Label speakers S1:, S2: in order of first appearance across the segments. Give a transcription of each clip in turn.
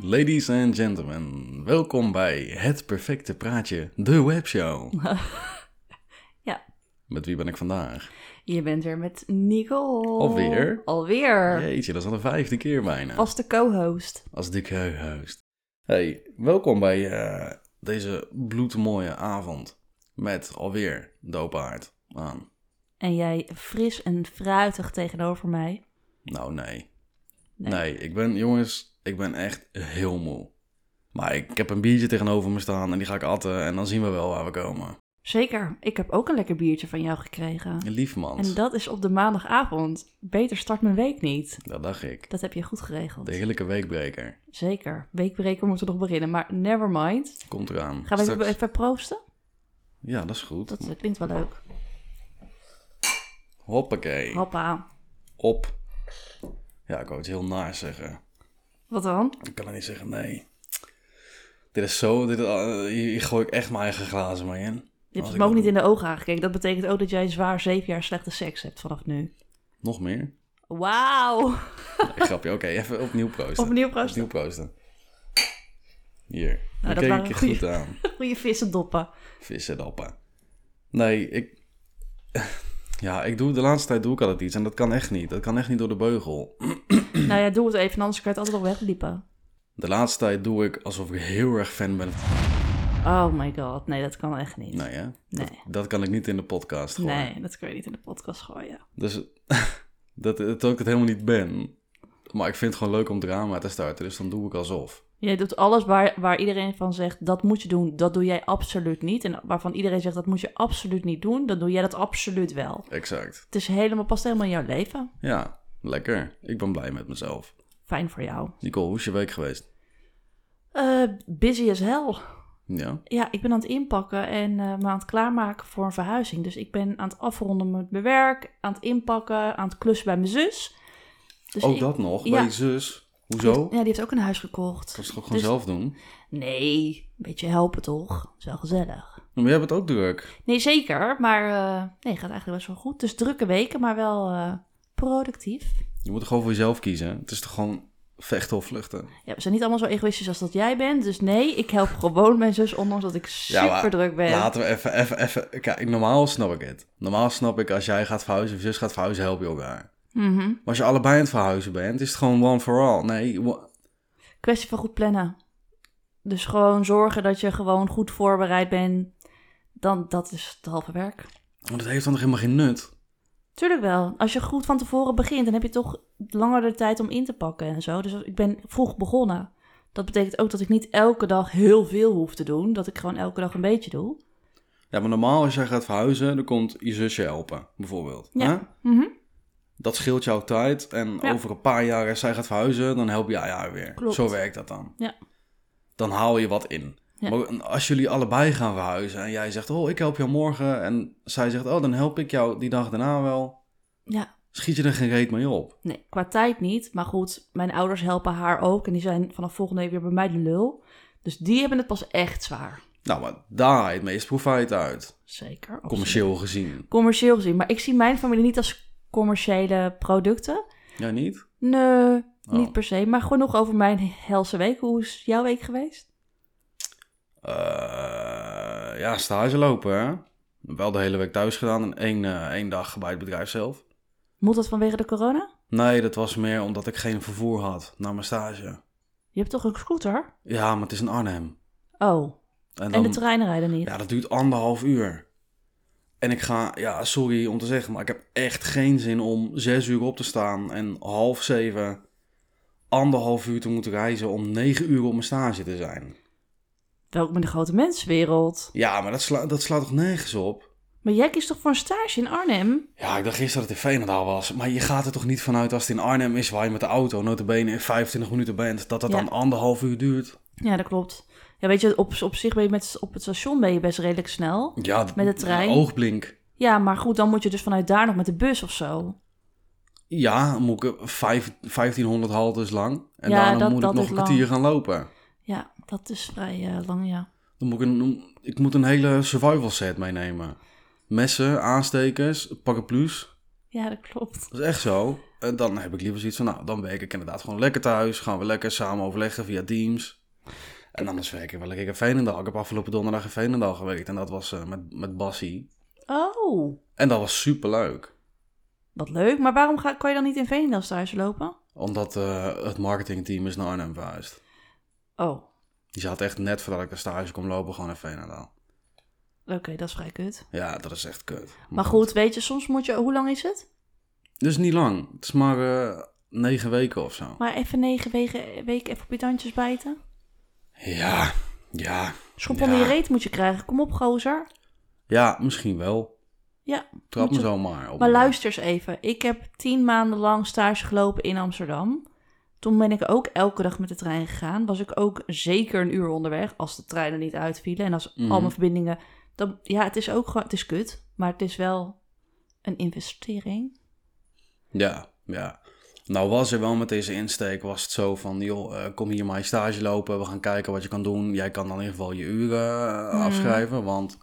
S1: Ladies and gentlemen, welkom bij Het Perfecte Praatje, de webshow.
S2: Ja.
S1: Met wie ben ik vandaag?
S2: Je bent weer met Nicole.
S1: Alweer?
S2: Alweer.
S1: Jeetje, dat is al de vijfde keer bijna.
S2: Vaste co-host.
S1: Als de co-host. Hey, welkom bij eh, deze bloedmooie avond. Met alweer dopaard aan.
S2: En jij fris en fruitig tegenover mij.
S1: Nou, nee.
S2: Nee.
S1: nee. ik ben, jongens, ik ben echt heel moe. Maar ik heb een biertje tegenover me staan en die ga ik atten en dan zien we wel waar we komen.
S2: Zeker, ik heb ook een lekker biertje van jou gekregen.
S1: Lief man,
S2: En dat is op de maandagavond. Beter start mijn week niet.
S1: dat dacht ik.
S2: Dat heb je goed geregeld.
S1: De heerlijke weekbreker.
S2: Zeker. Weekbreker moeten we nog beginnen, maar never mind.
S1: Komt eraan.
S2: Gaan we even,
S1: Straks-
S2: even proosten?
S1: Ja, dat is goed.
S2: Dat eh, klinkt wel leuk.
S1: Hoppakee.
S2: Hoppa.
S1: Op. Ja, ik wou iets heel naars zeggen.
S2: Wat dan?
S1: Ik kan het niet zeggen, nee. Dit is zo, dit, eh, hier gooi ik echt mijn eigen glazen mee in.
S2: Je
S1: Als
S2: hebt
S1: ik
S2: me ook
S1: dat
S2: niet in de ogen aangekeken. Dat betekent ook dat jij zwaar zeven jaar slechte seks hebt vanaf nu.
S1: Nog meer?
S2: Wauw.
S1: Nee, grapje, oké, even opnieuw proosten.
S2: Opnieuw proosten.
S1: Opnieuw proosten. Hier, nou,
S2: dat
S1: keek
S2: waren
S1: ik je
S2: goeie-
S1: goed aan.
S2: Goeie vissen doppen.
S1: Vissendappen. Nee, ik... Ja, ik doe, de laatste tijd doe ik altijd iets en dat kan echt niet. Dat kan echt niet door de beugel.
S2: Nou ja, doe het even, anders kan je het altijd nog wegliepen.
S1: De laatste tijd doe ik alsof ik heel erg fan ben.
S2: Oh my god, nee, dat kan echt niet.
S1: Nee, hè? Dat,
S2: Nee.
S1: dat kan ik niet in de podcast gooien.
S2: Nee, dat kun je niet in de podcast gooien.
S1: Dus dat, dat ik het helemaal niet ben. Maar ik vind het gewoon leuk om drama te starten, dus dan doe ik alsof.
S2: Jij doet alles waar, waar iedereen van zegt, dat moet je doen, dat doe jij absoluut niet. En waarvan iedereen zegt, dat moet je absoluut niet doen, dan doe jij dat absoluut wel.
S1: Exact.
S2: Het is helemaal, past helemaal in jouw leven.
S1: Ja, lekker. Ik ben blij met mezelf.
S2: Fijn voor jou.
S1: Nicole, hoe is je week geweest?
S2: Eh, busy as hell.
S1: Ja,
S2: Ja, ik ben aan het inpakken en eh, me aan het klaarmaken voor een verhuizing. Dus ik ben aan het afronden met mijn werk, aan het inpakken, aan het klussen bij mijn zus. Dus
S1: ook
S2: ik-
S1: dat nog?
S2: ja.
S1: Bij je zus? Hoezo?
S2: Ja, die heeft ook een huis gekocht.
S1: Dat is toch gewoon
S2: Dus-
S1: zelf doen?
S2: Nee, een beetje helpen toch? Dat is wel gezellig.
S1: Maar jij hebt het ook druk.
S2: Nee, zeker. Maar eh, nee, gaat eigenlijk best wel goed. Dus drukke weken, maar wel eh, productief.
S1: Je moet er gewoon voor jezelf kiezen. Het is toch gewoon vechten of vluchten?
S2: Ja, we zijn niet allemaal zo egoïstisch als dat jij bent. Dus nee, ik help gewoon mijn zus, ondanks dat ik super
S1: maar
S2: druk ben.
S1: Laten we even, even, even... Kijk, normaal snap ik het. Normaal snap ik als jij gaat verhuizen of je zus gaat verhuizen, help je elkaar.
S2: Mhm.
S1: Maar als je allebei aan het verhuizen bent, is het gewoon one for all. Nee, wa-
S2: Kwestie van goed plannen. Dus gewoon zorgen dat je gewoon goed voorbereid bent. Dan, dat is het halve werk.
S1: Want het heeft dan nog helemaal geen nut.
S2: Tuurlijk wel. Als je goed van tevoren begint, dan heb je toch langer de tijd om in te pakken en zo. Dus ik ben vroeg begonnen. Dat betekent ook dat ik niet elke dag heel veel hoef te doen. Dat ik gewoon elke dag een beetje doe.
S1: Ja, maar normaal als jij gaat verhuizen, dan komt je zusje helpen, bijvoorbeeld.
S2: Ja.
S1: Hè?
S2: Mhm.
S1: Dat scheelt jouw tijd en
S2: Ja.
S1: over een paar jaar als zij gaat verhuizen, dan help jij haar weer.
S2: Klopt.
S1: Zo werkt dat dan.
S2: Ja.
S1: Dan haal je wat in.
S2: Ja.
S1: Maar als jullie allebei gaan verhuizen en jij zegt, oh, ik help jou morgen. En zij zegt, oh, dan help ik jou die dag daarna wel.
S2: Ja.
S1: Schiet je er geen reet mee op.
S2: Nee, qua tijd niet. Maar goed, mijn ouders helpen haar ook. En die zijn vanaf volgende week weer bij mij de lul. Dus die hebben het pas echt zwaar.
S1: Nou, maar daar haal je het meest profijt uit.
S2: Zeker. absoluut.
S1: Commercieel gezien.
S2: Commercieel gezien. Maar ik zie mijn familie niet als commerciële producten.
S1: Ja, niet?
S2: Nee,
S1: Oh.
S2: niet per se. Maar genoeg over mijn helse week. Hoe is jouw week geweest?
S1: Eh, ja, stage lopen, hè. Wel de hele week thuis gedaan en één, eh, één dag bij het bedrijf zelf.
S2: Moet dat vanwege de corona?
S1: Nee, dat was meer omdat ik geen vervoer had naar mijn stage.
S2: Je hebt toch een scooter?
S1: Ja, maar het is in Arnhem.
S2: Oh,
S1: En,
S2: en de treinen rijden niet.
S1: Ja, dat duurt anderhalf uur. En ik ga, ja, sorry om te zeggen, maar ik heb echt geen zin om zes uur op te staan en half zeven anderhalf uur te moeten reizen om negen uur op mijn stage te zijn.
S2: Welkom in de grote mensenwereld.
S1: Ja, maar dat, sla, dat slaat toch nergens op?
S2: Maar jij kiest toch voor een stage in Arnhem?
S1: Ja, ik dacht eerst dat het in Veenendaal was. Maar je gaat er toch niet vanuit als het in Arnhem is... waar je met de auto notabene in 25 minuten bent... dat dat
S2: Ja.
S1: dan anderhalf uur duurt?
S2: Ja, dat klopt. Ja, weet je, op, op zich ben je met, op het station ben je best redelijk snel.
S1: Ja, d-
S2: Met de trein?
S1: een Oogblink.
S2: Ja, maar goed, dan moet je dus vanuit daar nog met de bus of zo.
S1: Ja, dan moet ik eh, vijf- 1500 haltes lang. En
S2: Ja,
S1: daarna
S2: dat-
S1: moet
S2: dat
S1: ik nog
S2: is
S1: een kwartier gaan lopen.
S2: Ja, dat is vrij eh, lang, ja.
S1: Dan moet ik, een, ik moet een hele survival set meenemen. Messen, aanstekers, paraplu's.
S2: Ja, dat klopt.
S1: Dat is echt zo. eh, dan heb ik liever zoiets van, nou, dan werk ik inderdaad gewoon lekker thuis. Gaan we lekker samen overleggen via Teams. En anders werk ik wel lekker in Veenendaal. Ik heb afgelopen donderdag in Veenendaal gewerkt. En dat was eh, met, met Bassie.
S2: Oh,
S1: En dat was superleuk.
S2: wat leuk. Maar waarom ga, kan je dan niet in Veenendaal thuis lopen?
S1: Omdat eh, het marketingteam is naar Arnhem verhuisd.
S2: Oh,
S1: Die zaten echt net voordat ik de stage kon lopen gewoon in Veenendaal.
S2: oké, dat is vrij kut.
S1: Ja, dat is echt kut.
S2: Maar goed, weet je, soms moet je... Hoe lang is het?
S1: Dus niet lang. Het is maar eh, negen weken of zo.
S2: Maar even negen weken, weken even op je tandjes bijten.
S1: Ja, ja.
S2: Schop
S1: Ja.
S2: onder je reet moet je krijgen. Kom op, gozer.
S1: Ja, misschien wel.
S2: Ja,
S1: Trap
S2: moet
S1: me
S2: je-
S1: zo maar op.
S2: Maar luister eens even. Ik heb tien maanden lang stage gelopen in Amsterdam. Toen ben ik ook elke dag met de trein gegaan. Was ik ook zeker een uur onderweg als de treinen niet uitvielen. En als
S1: Mhm.
S2: al mijn verbindingen... Dan, ja, het is ook gewoon... Het is kut, maar het is wel een investering.
S1: Ja, ja. Nou was er wel met deze insteek, was het zo van, joh, eh, kom hier maar je stage lopen, we gaan kijken wat je kan doen. Jij kan dan in ieder geval je uren eh,
S2: Hmm.
S1: afschrijven, want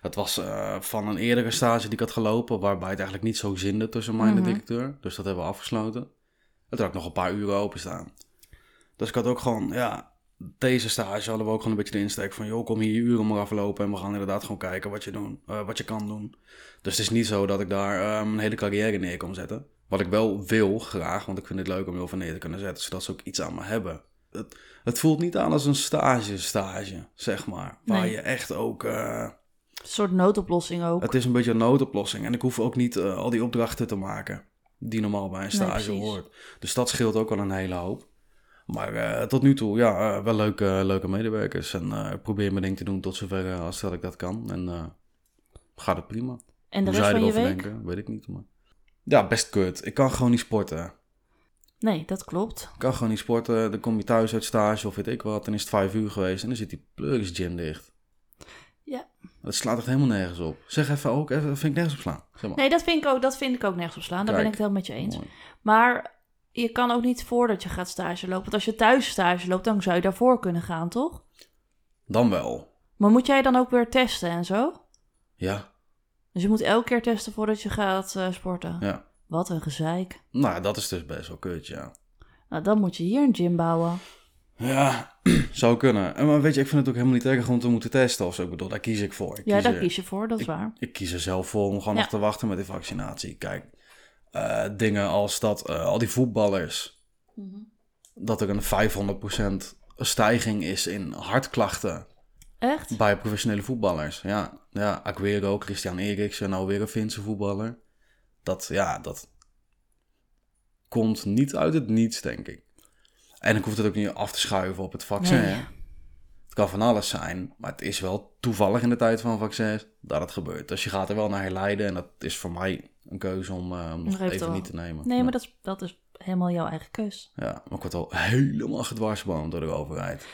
S1: het was eh, van een eerdere stage die ik had gelopen, waarbij het eigenlijk niet zo zinde tussen mij en
S2: Mhm.
S1: de directeur. Dus dat hebben we afgesloten. En toen had ik nog een paar uren openstaan. Dus ik had ook gewoon, ja, deze stage hadden we ook gewoon een beetje de insteek van, joh, kom hier je uren maar aflopen en we gaan inderdaad gewoon kijken wat je, doen, eh, wat je kan doen. Dus het is niet zo dat ik daar ehm, een hele carrière neer kan zetten. Wat ik wel wil, graag, want ik vind het leuk om heel veel neer te kunnen zetten, zodat ze ook iets aan me hebben. Het, het voelt niet aan als een stage, stage, zeg maar. Waar
S2: Nee.
S1: je echt ook... eh,
S2: Een soort noodoplossing ook.
S1: het is een beetje een noodoplossing. En ik hoef ook niet eh, al die opdrachten te maken die normaal bij een stage
S2: precies.
S1: hoort. Dus dat scheelt ook al een hele hoop. Maar eh, tot nu toe, ja, eh, wel leuke, leuke medewerkers. En eh, ik probeer mijn ding te doen tot zover eh, als dat ik dat kan. En eh, gaat het prima.
S2: en de
S1: Hoe zij
S2: rest van je
S1: erover
S2: week?
S1: denken, weet ik niet. Maar... Ja, best kut. Ik kan gewoon niet sporten.
S2: Nee, dat klopt.
S1: Ik kan gewoon niet sporten. Dan kom je thuis uit stage of weet ik wat. Dan is het vijf uur geweest en dan zit die pleuris gym dicht.
S2: Ja.
S1: Dat slaat echt helemaal nergens op. Zeg even ook, even, vind ik nergens op slaan. Zeg maar.
S2: Nee, dat vind ik ook, dat vind ik ook nergens op slaan. Daar ben
S1: Kijk.
S2: ik het helemaal met je eens.
S1: Mooi.
S2: Maar je kan ook niet voordat je gaat stage lopen. Want als je thuis stage loopt, dan zou je daarvoor kunnen gaan, toch?
S1: Dan wel.
S2: Maar moet jij dan ook weer testen en zo?
S1: Ja.
S2: Dus je moet elke keer testen voordat je gaat eh, sporten.
S1: ja.
S2: Wat een gezeik.
S1: Nou, dat is dus best wel kut, ja.
S2: Nou, dan moet je hier een gym bouwen.
S1: Ja, zou kunnen. En maar weet je, ik vind het ook helemaal niet erg om te moeten testen of zo. Ik bedoel, daar kies ik voor. Ik
S2: Ja,
S1: kies
S2: daar
S1: er-
S2: kies je voor, dat is waar.
S1: ik kies er zelf voor om gewoon
S2: Ja.
S1: nog te wachten met die vaccinatie. Kijk, eh, dingen als dat eh, al die voetballers,
S2: Mhm.
S1: dat er een 500% stijging is in hartklachten
S2: Echt?
S1: bij professionele voetballers. Ja, ja Aguero, Christian Eriksen, nou weer een Finse voetballer. Dat, ja, dat komt niet uit het niets, denk ik. En ik hoef het ook niet af te schuiven op het vaccin.
S2: Nee.
S1: hè. Het kan van alles zijn, maar het is wel toevallig in de tijd van vaccins dat het gebeurt. Dus je gaat er wel naar herleiden en dat is voor mij een keuze om eh, om dat
S2: heeft
S1: even
S2: wel-
S1: niet te nemen.
S2: Nee, maar
S1: Ja.
S2: dat is, dat is helemaal jouw eigen keus.
S1: Ja, maar ik word al helemaal gedwarsboomd door de overheid.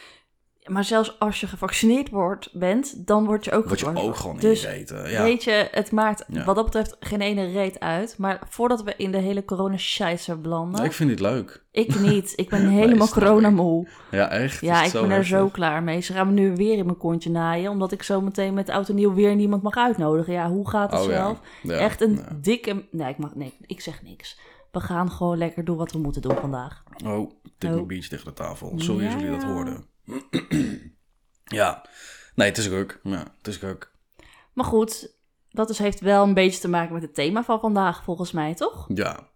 S2: Maar zelfs als je gevaccineerd wordt, bent, dan word je ook
S1: Word je
S2: gedwongen.
S1: ook gewoon
S2: Dus
S1: ingereten. Ja.
S2: Weet je, het maakt
S1: Ja.
S2: wat dat betreft geen ene reet uit. Maar voordat we in de hele corona-scheisser belanden...
S1: Nee, ik vind dit leuk.
S2: Ik niet. Ik ben helemaal
S1: snap ik.
S2: coronamoe.
S1: Ja, echt. Is
S2: Ja,
S1: het
S2: ik
S1: zo
S2: ben er
S1: heftig?
S2: zo klaar mee. Ze gaan me nu weer in mijn kontje naaien. Omdat ik zo meteen met oud en nieuw weer niemand mag uitnodigen. Ja, hoe gaat het
S1: Oh, ja.
S2: zelf?
S1: Ja,
S2: Echt een
S1: ja.
S2: dikke... Nee ik, mag... nee, ik zeg niks. We gaan gewoon lekker doen wat we moeten doen vandaag.
S1: Oh, tik
S2: Oh.
S1: mijn biertje tegen de tafel. Sorry als
S2: Ja.
S1: jullie dat hoorden. ja. Nee, het is druk. Ja, het is druk.
S2: Maar goed, dat dus heeft wel een beetje te maken met het thema van vandaag, volgens mij, toch?
S1: Ja.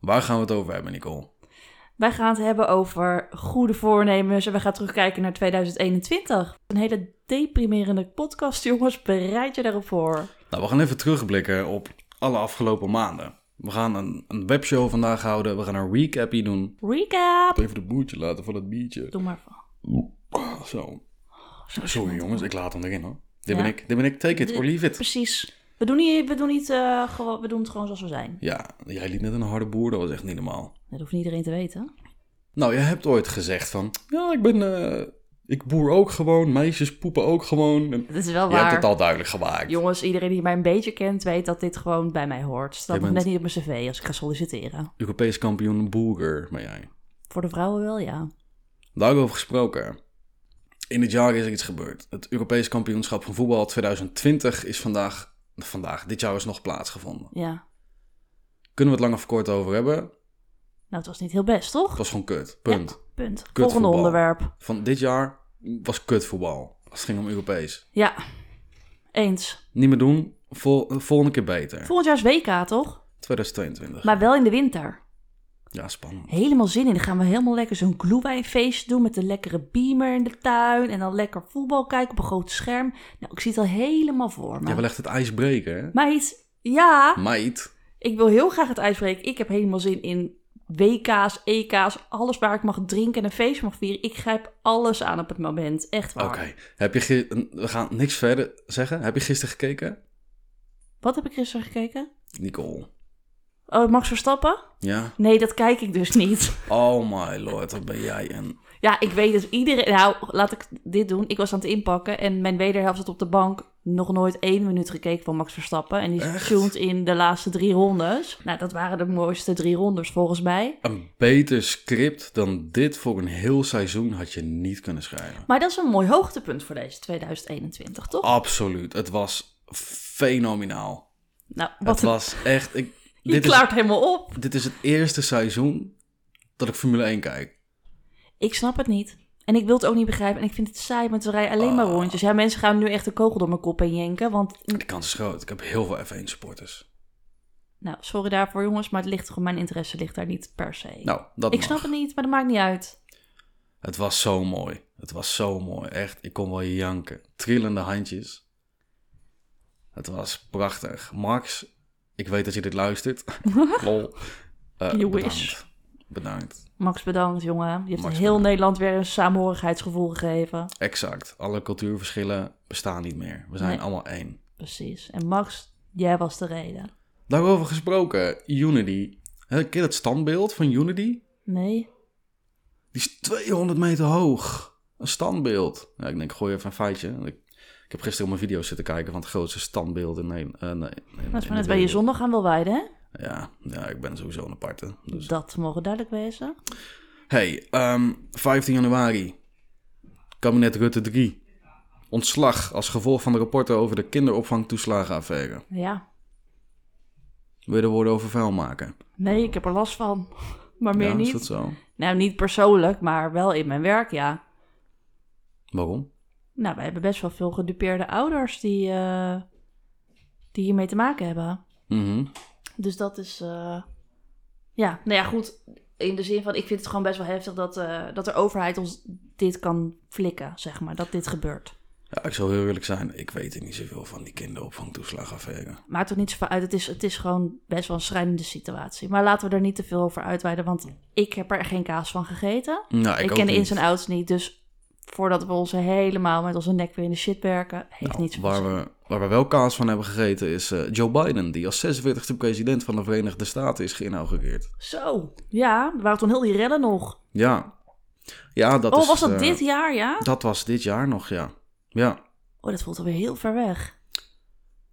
S1: Waar gaan we het over hebben, Nicole?
S2: Wij gaan het hebben over goede voornemens en we gaan terugkijken naar 2021. Een hele deprimerende podcast, jongens. Bereid je daarop voor.
S1: Nou, we gaan even terugblikken op alle afgelopen maanden. We gaan een, een webshow vandaag houden. We gaan een recapje doen.
S2: Recap!
S1: Even de boertje laten van het biertje. Ah,
S2: Doe maar van.
S1: Zo.
S2: Zo
S1: Sorry jongens, ik laat hem erin hoor. Dit
S2: Ja.
S1: ben ik. Dit ben ik. Take it
S2: Dit-
S1: or leave it.
S2: Precies. We doen, niet, we, doen niet, eh, gewoon, we doen het gewoon zoals we zijn.
S1: Ja, jij liet net een harde boer. Dat was echt niet normaal.
S2: Dat hoeft niet iedereen te weten.
S1: Nou, je hebt ooit gezegd van, ja, ik ben, eh, ik boer ook gewoon, meisjes poepen ook gewoon. En
S2: Dat is wel
S1: je hebt
S2: waar.
S1: het al duidelijk gemaakt.
S2: Jongens, iedereen die mij een beetje kent weet dat dit gewoon bij mij hoort. Staat
S1: Je
S2: nog
S1: bent-
S2: net niet op mijn cv als ik ga solliciteren.
S1: Europees kampioen boerger ben jij.
S2: Voor de vrouwen wel, ja.
S1: Daarover gesproken. In het jaar is er iets gebeurd. Het Europees kampioenschap van voetbal 2020 is vandaag, vandaag, dit jaar is nog plaatsgevonden.
S2: Ja.
S1: Kunnen we het lang of kort over hebben?
S2: Nou, het was niet heel best, toch?
S1: Het was gewoon kut. Punt.
S2: Ja, punt.
S1: Kutvoetbal.
S2: Volgende onderwerp.
S1: Van dit jaar was kut voetbal. Als het ging om Europees.
S2: Ja, eens.
S1: Niet meer doen. Vol, volgende keer beter.
S2: Volgend jaar is WK, toch?
S1: 2022.
S2: Maar wel in de winter.
S1: Ja, spannend.
S2: Helemaal zin in. Dan gaan we helemaal lekker zo'n gloewijnfeest doen met een lekkere beamer in de tuin. En dan lekker voetbal kijken op een groot scherm. Nou, ik zie het al helemaal voor me.
S1: Jij wil echt het ijs breken, hè?
S2: Meid, ja,
S1: Meid.
S2: ik wil heel graag het ijs breken. Ik heb helemaal zin in WK's, EK's, alles waar ik mag drinken en een feest mag vieren. Ik grijp alles aan op het moment. Echt waar.
S1: Oké. Heb je... gi- We gaan niks verder zeggen. Heb je gisteren gekeken?
S2: Wat heb ik gisteren gekeken?
S1: Nicole.
S2: Oh, Max Verstappen?
S1: Ja?
S2: Nee, dat kijk ik dus niet.
S1: Oh my lord, wat ben jij een...
S2: Ja, ik weet het. Iedereen... Nou, laat ik dit doen. Ik was aan het inpakken en mijn wederhelft zat op de bank. Nog nooit één minuut gekeken van Max Verstappen. En die
S1: Echt?
S2: tuned in de laatste drie rondes. Nou, dat waren de mooiste drie rondes volgens mij.
S1: Een beter script dan dit voor een heel seizoen had je niet kunnen schrijven.
S2: Maar dat is een mooi hoogtepunt voor deze 2021, toch?
S1: Absoluut. Het was fenomenaal.
S2: Nou, wat
S1: het was echt... Ik,
S2: Je
S1: dit, is,
S2: klaart helemaal op.
S1: dit is het eerste seizoen dat ik Formule 1 kijk.
S2: Ik snap het niet. En ik wil het ook niet begrijpen. En ik vind het saai, want we rijden alleen maar
S1: Ah.
S2: rondjes. Ja, mensen gaan nu echt een kogel door mijn kop heen jenken. Want,
S1: De kans is groot. Ik heb heel veel F1-supporters.
S2: nou, sorry daarvoor jongens, maar het ligt gewoon, mijn interesse ligt daar niet per se.
S1: Nou, dat
S2: ik
S1: mag.
S2: snap het niet, maar dat maakt niet uit.
S1: Het was zo mooi. Het was zo mooi. Echt, ik kon wel janken. Trillende handjes. Het was prachtig. Max, ik weet dat je dit luistert. Lol. Eh,
S2: You
S1: bedankt.
S2: wish.
S1: Bedankt.
S2: Max, bedankt jongen. Je hebt
S1: Max,
S2: heel
S1: bedankt.
S2: Nederland weer een saamhorigheidsgevoel gegeven.
S1: Exact. Alle cultuurverschillen bestaan niet meer. We zijn
S2: Nee.
S1: allemaal één.
S2: Precies. En Max, jij was de reden.
S1: Daarover gesproken, Unity. Hè, Ken je dat standbeeld van Unity?
S2: Nee? Nou,
S1: Die is 200 meter hoog. Een standbeeld. Ja, ik denk, ik gooi even een feitje. Ik, ik heb gisteren op mijn video's zitten kijken van het grootste standbeeld in Nederland. eh, nee, in-
S2: Dat is
S1: in
S2: maar net
S1: de
S2: bij je
S1: wereld.
S2: zondag aan wil wijden, hè?
S1: Ja, ja, ik ben sowieso een aparte. Dus.
S2: Dat mogen duidelijk wezen.
S1: Hey, ehm, 15 januari. Kabinet Rutte 3. Ontslag als gevolg van de rapporten over de kinderopvangtoeslagenaffaire.
S2: Ja.
S1: Wil je er woorden over vuil maken?
S2: Nee, ik heb er last van. Maar meer
S1: ja, is
S2: niet.
S1: dat zo?
S2: Nou, niet persoonlijk, maar wel in mijn werk, ja.
S1: Waarom?
S2: Nou, wij hebben best wel veel gedupeerde ouders die, eh, die hiermee te maken hebben.
S1: Mhm.
S2: Dus dat is. eh, ja, nou ja, goed. In de zin van, ik vind het gewoon best wel heftig dat, eh, dat de overheid ons dit kan flikken, zeg maar. Dat dit gebeurt.
S1: ja, ik zal heel eerlijk zijn. Ik weet er niet zoveel van die kinderopvangtoeslagaffaire.
S2: Maakt toch niet zoveel uit. Het is, het is gewoon best wel een schrijnende situatie. Maar laten we er niet te veel over uitweiden, want ik heb er geen kaas van gegeten.
S1: Nou, ik
S2: Ik,
S1: ook
S2: ken de
S1: niet.
S2: ins en outs niet, dus voordat we ons helemaal met onze nek weer in de shit werken, heeft
S1: Nou,
S2: niets van
S1: waar,
S2: zin.
S1: we, waar we wel kaas van hebben gegeten is eh, Joe Biden, die als 46e president van de Verenigde Staten is geïnaugureerd.
S2: Zo, ja, er waren toen heel die rellen nog.
S1: Ja. Ja, dat
S2: oh,
S1: is...
S2: was dat
S1: eh,
S2: dit jaar, ja?
S1: Dat was dit jaar nog, ja. Ja,
S2: Oh, dat voelt alweer heel ver weg.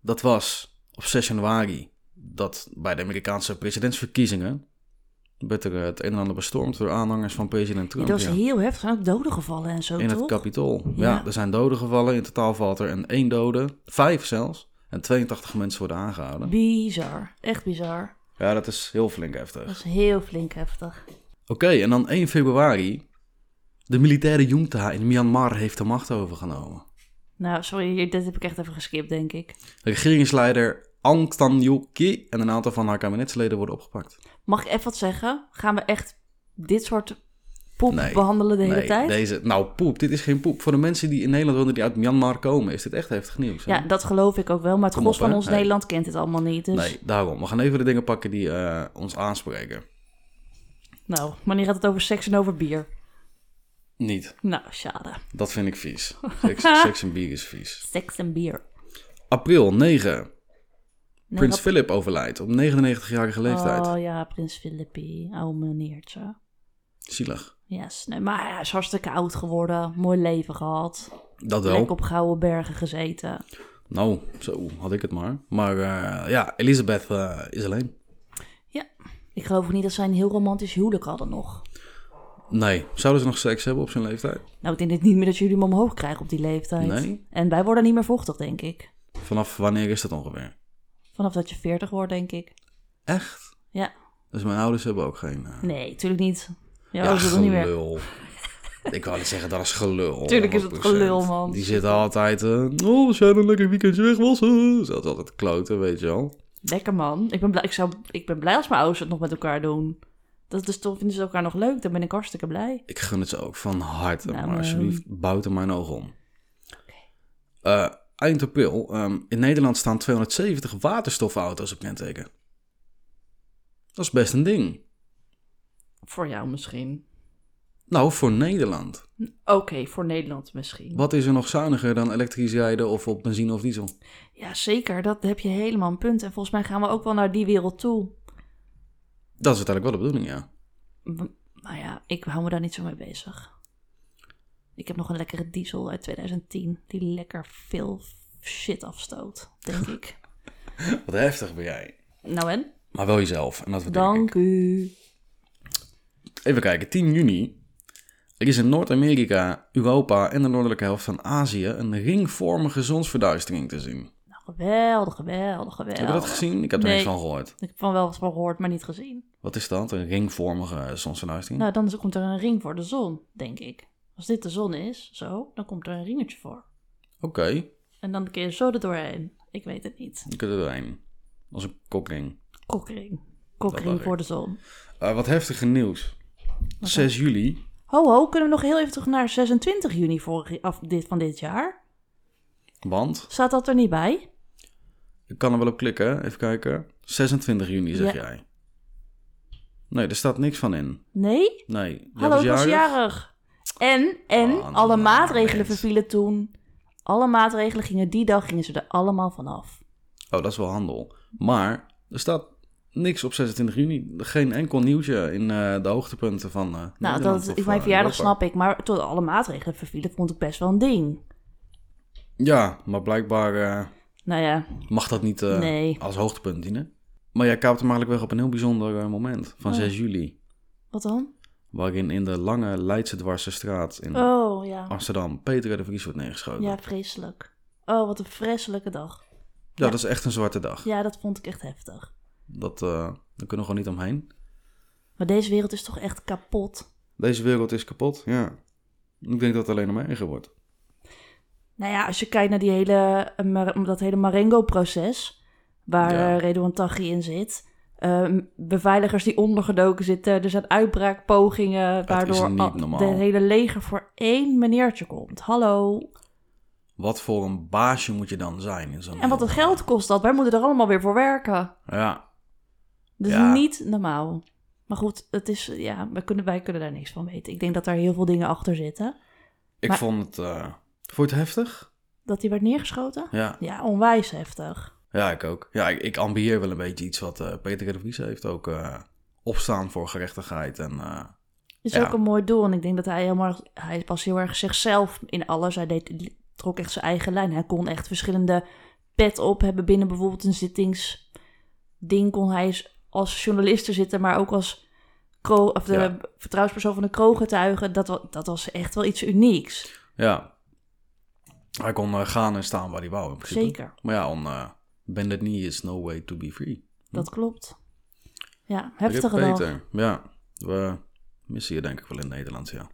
S1: dat was op 6 januari dat bij de Amerikaanse presidentsverkiezingen werd er eh, het een en ander bestormd door aanhangers van president
S2: Ja,
S1: Trump.
S2: dat is
S1: ja.
S2: heel heftig. Er zijn ook doden gevallen en zo,
S1: in het
S2: toch?
S1: kapitool. Ja.
S2: Ja.
S1: er zijn doden gevallen. In totaal valt er een één dode, vijf zelfs, en 82 mensen worden aangehouden.
S2: Bizar. Echt bizar.
S1: Ja, dat is heel flink heftig.
S2: Dat is heel flink heftig.
S1: Oké, en dan 1 februari. De militaire junta in Myanmar heeft de macht overgenomen.
S2: Nou, sorry, hier- dit heb ik echt even geskipt, denk ik.
S1: Regeringsleider Aung San Suu Kyi en een aantal van haar kabinetsleden worden opgepakt.
S2: Mag ik even wat zeggen? Gaan we echt dit soort poep
S1: Nee.
S2: behandelen de hele
S1: nee,
S2: tijd?
S1: deze... Nou, poep. Dit is geen poep. Voor de mensen die in Nederland wonen die uit Myanmar komen, is dit echt heftig nieuws. hè?
S2: Ja, dat geloof ik ook wel. Maar het
S1: Kom
S2: gros
S1: op,
S2: van
S1: hè?
S2: ons
S1: Nee.
S2: Nederland kent het allemaal niet. Dus
S1: Nee, daarom. We gaan even de dingen pakken die eh, ons aanspreken.
S2: nou, wanneer gaat het over seks en over bier?
S1: Niet.
S2: Nou, schade.
S1: Dat vind ik vies. Seks, seks en bier is vies.
S2: Seks en bier.
S1: April 9.
S2: Nee,
S1: Prins
S2: dat-
S1: Philip overlijdt op 99-jarige leeftijd.
S2: Oh ja, Prins Filippi. Oude meneertje.
S1: Zielig.
S2: Yes, nee, maar hij is hartstikke oud geworden. Mooi leven gehad.
S1: Dat wel.
S2: Lekker op gouden bergen gezeten.
S1: Nou, zo had ik het maar. Maar eh, ja, Elisabeth eh, is alleen.
S2: Ik geloof ook niet dat zij een heel romantisch huwelijk hadden nog.
S1: Nee. Zouden ze nog seks hebben op zijn leeftijd?
S2: Nou, ik denk dit niet meer dat jullie hem omhoog krijgen op die leeftijd.
S1: Nee.
S2: En wij worden niet meer vochtig, denk ik.
S1: Vanaf wanneer is dat ongeveer?
S2: Vanaf dat je 40 wordt, denk ik.
S1: Echt?
S2: Ja.
S1: Dus mijn ouders hebben ook geen... eh,
S2: Nee, tuurlijk niet. Ja,
S1: ja,
S2: dat is dat niet meer.
S1: gelul. Ik wou niet zeggen, dat is gelul.
S2: Tuurlijk is
S1: 100%.
S2: het gelul, man.
S1: Die zitten altijd... eh, oh, we zijn een lekker weekendje weg, was het. Dat is altijd kloten, weet je wel.
S2: Lekker man. Ik ben, blij, ik, zou, ik ben blij als mijn ouders het nog met elkaar doen. Dat is toch, vinden ze elkaar nog leuk? Dan ben ik hartstikke blij.
S1: Ik gun het ze ook van harte.
S2: Nou,
S1: maar
S2: ehm.
S1: alsjeblieft, buiten mijn ogen om. Eh, eind april. ehm, in Nederland staan 270 waterstofauto's op kenteken. Dat is best een ding.
S2: Voor jou misschien.
S1: Nou, voor Nederland.
S2: Oké, voor Nederland misschien.
S1: Wat is er nog zuiniger dan elektrisch rijden of op benzine of diesel?
S2: Ja, zeker. Dat heb je helemaal een punt. En volgens mij gaan we ook wel naar die wereld toe.
S1: Dat is uiteindelijk wel de bedoeling, ja.
S2: M- Maar nou ja, ik hou me daar niet zo mee bezig. Ik heb nog een lekkere diesel uit 2010 die lekker veel shit afstoot, denk ik.
S1: Wat heftig ben jij.
S2: Nou en?
S1: Maar wel jezelf. En dat we
S2: Dank u.
S1: Even kijken, 10 juni. Er is in Noord-Amerika, Europa en de noordelijke helft van Azië een ringvormige zonsverduistering te zien.
S2: Nou, geweldig, geweldig,
S1: Heb je dat
S2: geweldig.
S1: gezien? Ik heb er
S2: Nee.
S1: niks van gehoord.
S2: Ik heb van wel eens van gehoord, maar niet gezien.
S1: Wat is dat? Een ringvormige eh, zonsverduistering?
S2: Nou, dan is- komt er een ring voor de zon, denk ik. Als dit de zon is, zo, dan komt er een ringetje voor.
S1: Oké,
S2: En dan kun je zo er doorheen. Ik weet het niet.
S1: ik heb er doorheen. Als een kokring.
S2: Kokring.
S1: Dat dacht
S2: Kokring
S1: ik.
S2: voor de zon.
S1: Eh, wat heftiger nieuws. 6 juli.
S2: Ho, ho, kunnen we nog heel even terug naar 26 juni vorig, af, dit, van dit jaar?
S1: Want,
S2: Staat dat er niet bij?
S1: ik kan er wel op klikken, even kijken. 26 juni zeg
S2: Ja.
S1: jij. Nee, er staat niks van in.
S2: Nee?
S1: Nee. jij
S2: Hallo,
S1: was
S2: ik was
S1: jarig?
S2: jarig. En, en,
S1: Ah,
S2: alle
S1: nou,
S2: maatregelen
S1: mens.
S2: vervielen toen. Alle maatregelen gingen die dag, gingen ze er allemaal vanaf.
S1: Oh, dat is wel handel. Maar er staat niks op 26 juni. Geen enkel nieuwsje in eh, de hoogtepunten van. eh,
S2: Nou,
S1: Nederland
S2: dat,
S1: of,
S2: ik, mijn
S1: eh,
S2: verjaardag
S1: Europa.
S2: snap ik, maar tot alle maatregelen vervielen vond ik best wel een ding.
S1: Ja, maar blijkbaar eh,
S2: Nou ja,
S1: mag dat niet eh,
S2: Nee.
S1: als hoogtepunt dienen. Maar jij kaapt hem eigenlijk weg op een heel bijzonder eh, moment van
S2: Oh.
S1: 6 juli.
S2: wat dan?
S1: Waarin in de lange Leidse Dwarse straat in
S2: Oh ja,
S1: Amsterdam Peter de Vries wordt neergeschoten. Ja.
S2: ja, vreselijk. Oh, wat een vreselijke dag.
S1: dat is echt een zwarte dag.
S2: Ja, dat vond ik echt heftig.
S1: Dat, eh, daar kunnen we gewoon niet omheen.
S2: Maar deze wereld is toch echt kapot.
S1: Deze wereld is kapot, ja. Ik denk dat het alleen nog maar erger wordt.
S2: Nou ja, als je kijkt naar die hele, eh, Mar- dat hele Marengo-proces, waar
S1: Ja.
S2: eh, Redouan Taghi in zit. ehm, beveiligers die ondergedoken zitten. Er zijn uitbraakpogingen, waardoor
S1: niet
S2: al-
S1: normaal.
S2: de hele leger voor één meneertje komt. Hallo.
S1: Wat voor een baasje moet je dan zijn in zo'n
S2: En wat het geld kost dat. Wij moeten er allemaal weer voor werken.
S1: Ja,
S2: Dat
S1: Ja.
S2: is niet normaal. Maar goed, het is, ja, wij, kunnen, wij kunnen daar niks van weten. Ik denk dat daar heel veel dingen achter zitten.
S1: ik
S2: Maar-
S1: vond het... eh vond je het heftig?
S2: Dat hij werd neergeschoten?
S1: Ja,
S2: Ja, onwijs heftig.
S1: ja ik ook. Ja, ik, ik ambieer wel een beetje iets wat eh, Peter R. de Vries heeft. Ook eh, opstaan voor gerechtigheid. En, eh,
S2: Is
S1: Ja.
S2: ook een mooi doel. En ik denk dat hij helemaal... Hij was heel erg zichzelf in alles. Hij deed, trok echt zijn eigen lijn. Hij kon echt verschillende pet op hebben binnen bijvoorbeeld een zittingsding. Kon hij eens als journalist er zitten, maar ook als kro- of de
S1: Ja.
S2: vertrouwenspersoon van de kroongetuigen. Dat, wa- dat was echt wel iets unieks.
S1: ja, hij kon eh, gaan en staan waar hij wou in principe.
S2: Zeker.
S1: Maar ja, on eh bended knee is no way to be free.
S2: Dat klopt. Ja,
S1: Rip
S2: heftige dag.
S1: Hm. Peter, ja. We missen je denk ik wel in Nederland, ja.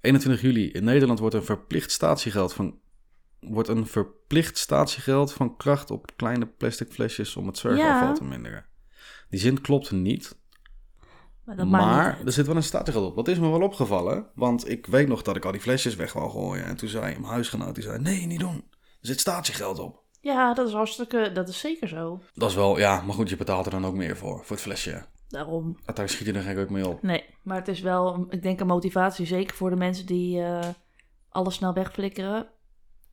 S1: 21 juli. In Nederland wordt een verplicht statiegeld van... Wordt een verplicht statiegeld van kracht op kleine plastic flesjes om het zwerfafval
S2: Ja.
S1: te minderen. Die zin klopt niet,
S2: Maar dat maakt niet
S1: maar
S2: uit.
S1: er zit wel een statiegeld op. Dat is me wel opgevallen, want ik weet nog dat ik al die flesjes weg wou gooien. En toen zei mijn huisgenoot, die zei, nee, niet doen. Er zit statiegeld op.
S2: Ja, dat is hartstikke... Dat is zeker zo.
S1: Dat is wel, ja, maar goed, je betaalt er dan ook meer voor, voor het flesje.
S2: Daarom.
S1: Daar schiet je er gek ook mee op.
S2: Nee, maar het is wel, ik denk, een motivatie. Zeker voor de mensen die eh, alles snel wegflikkeren.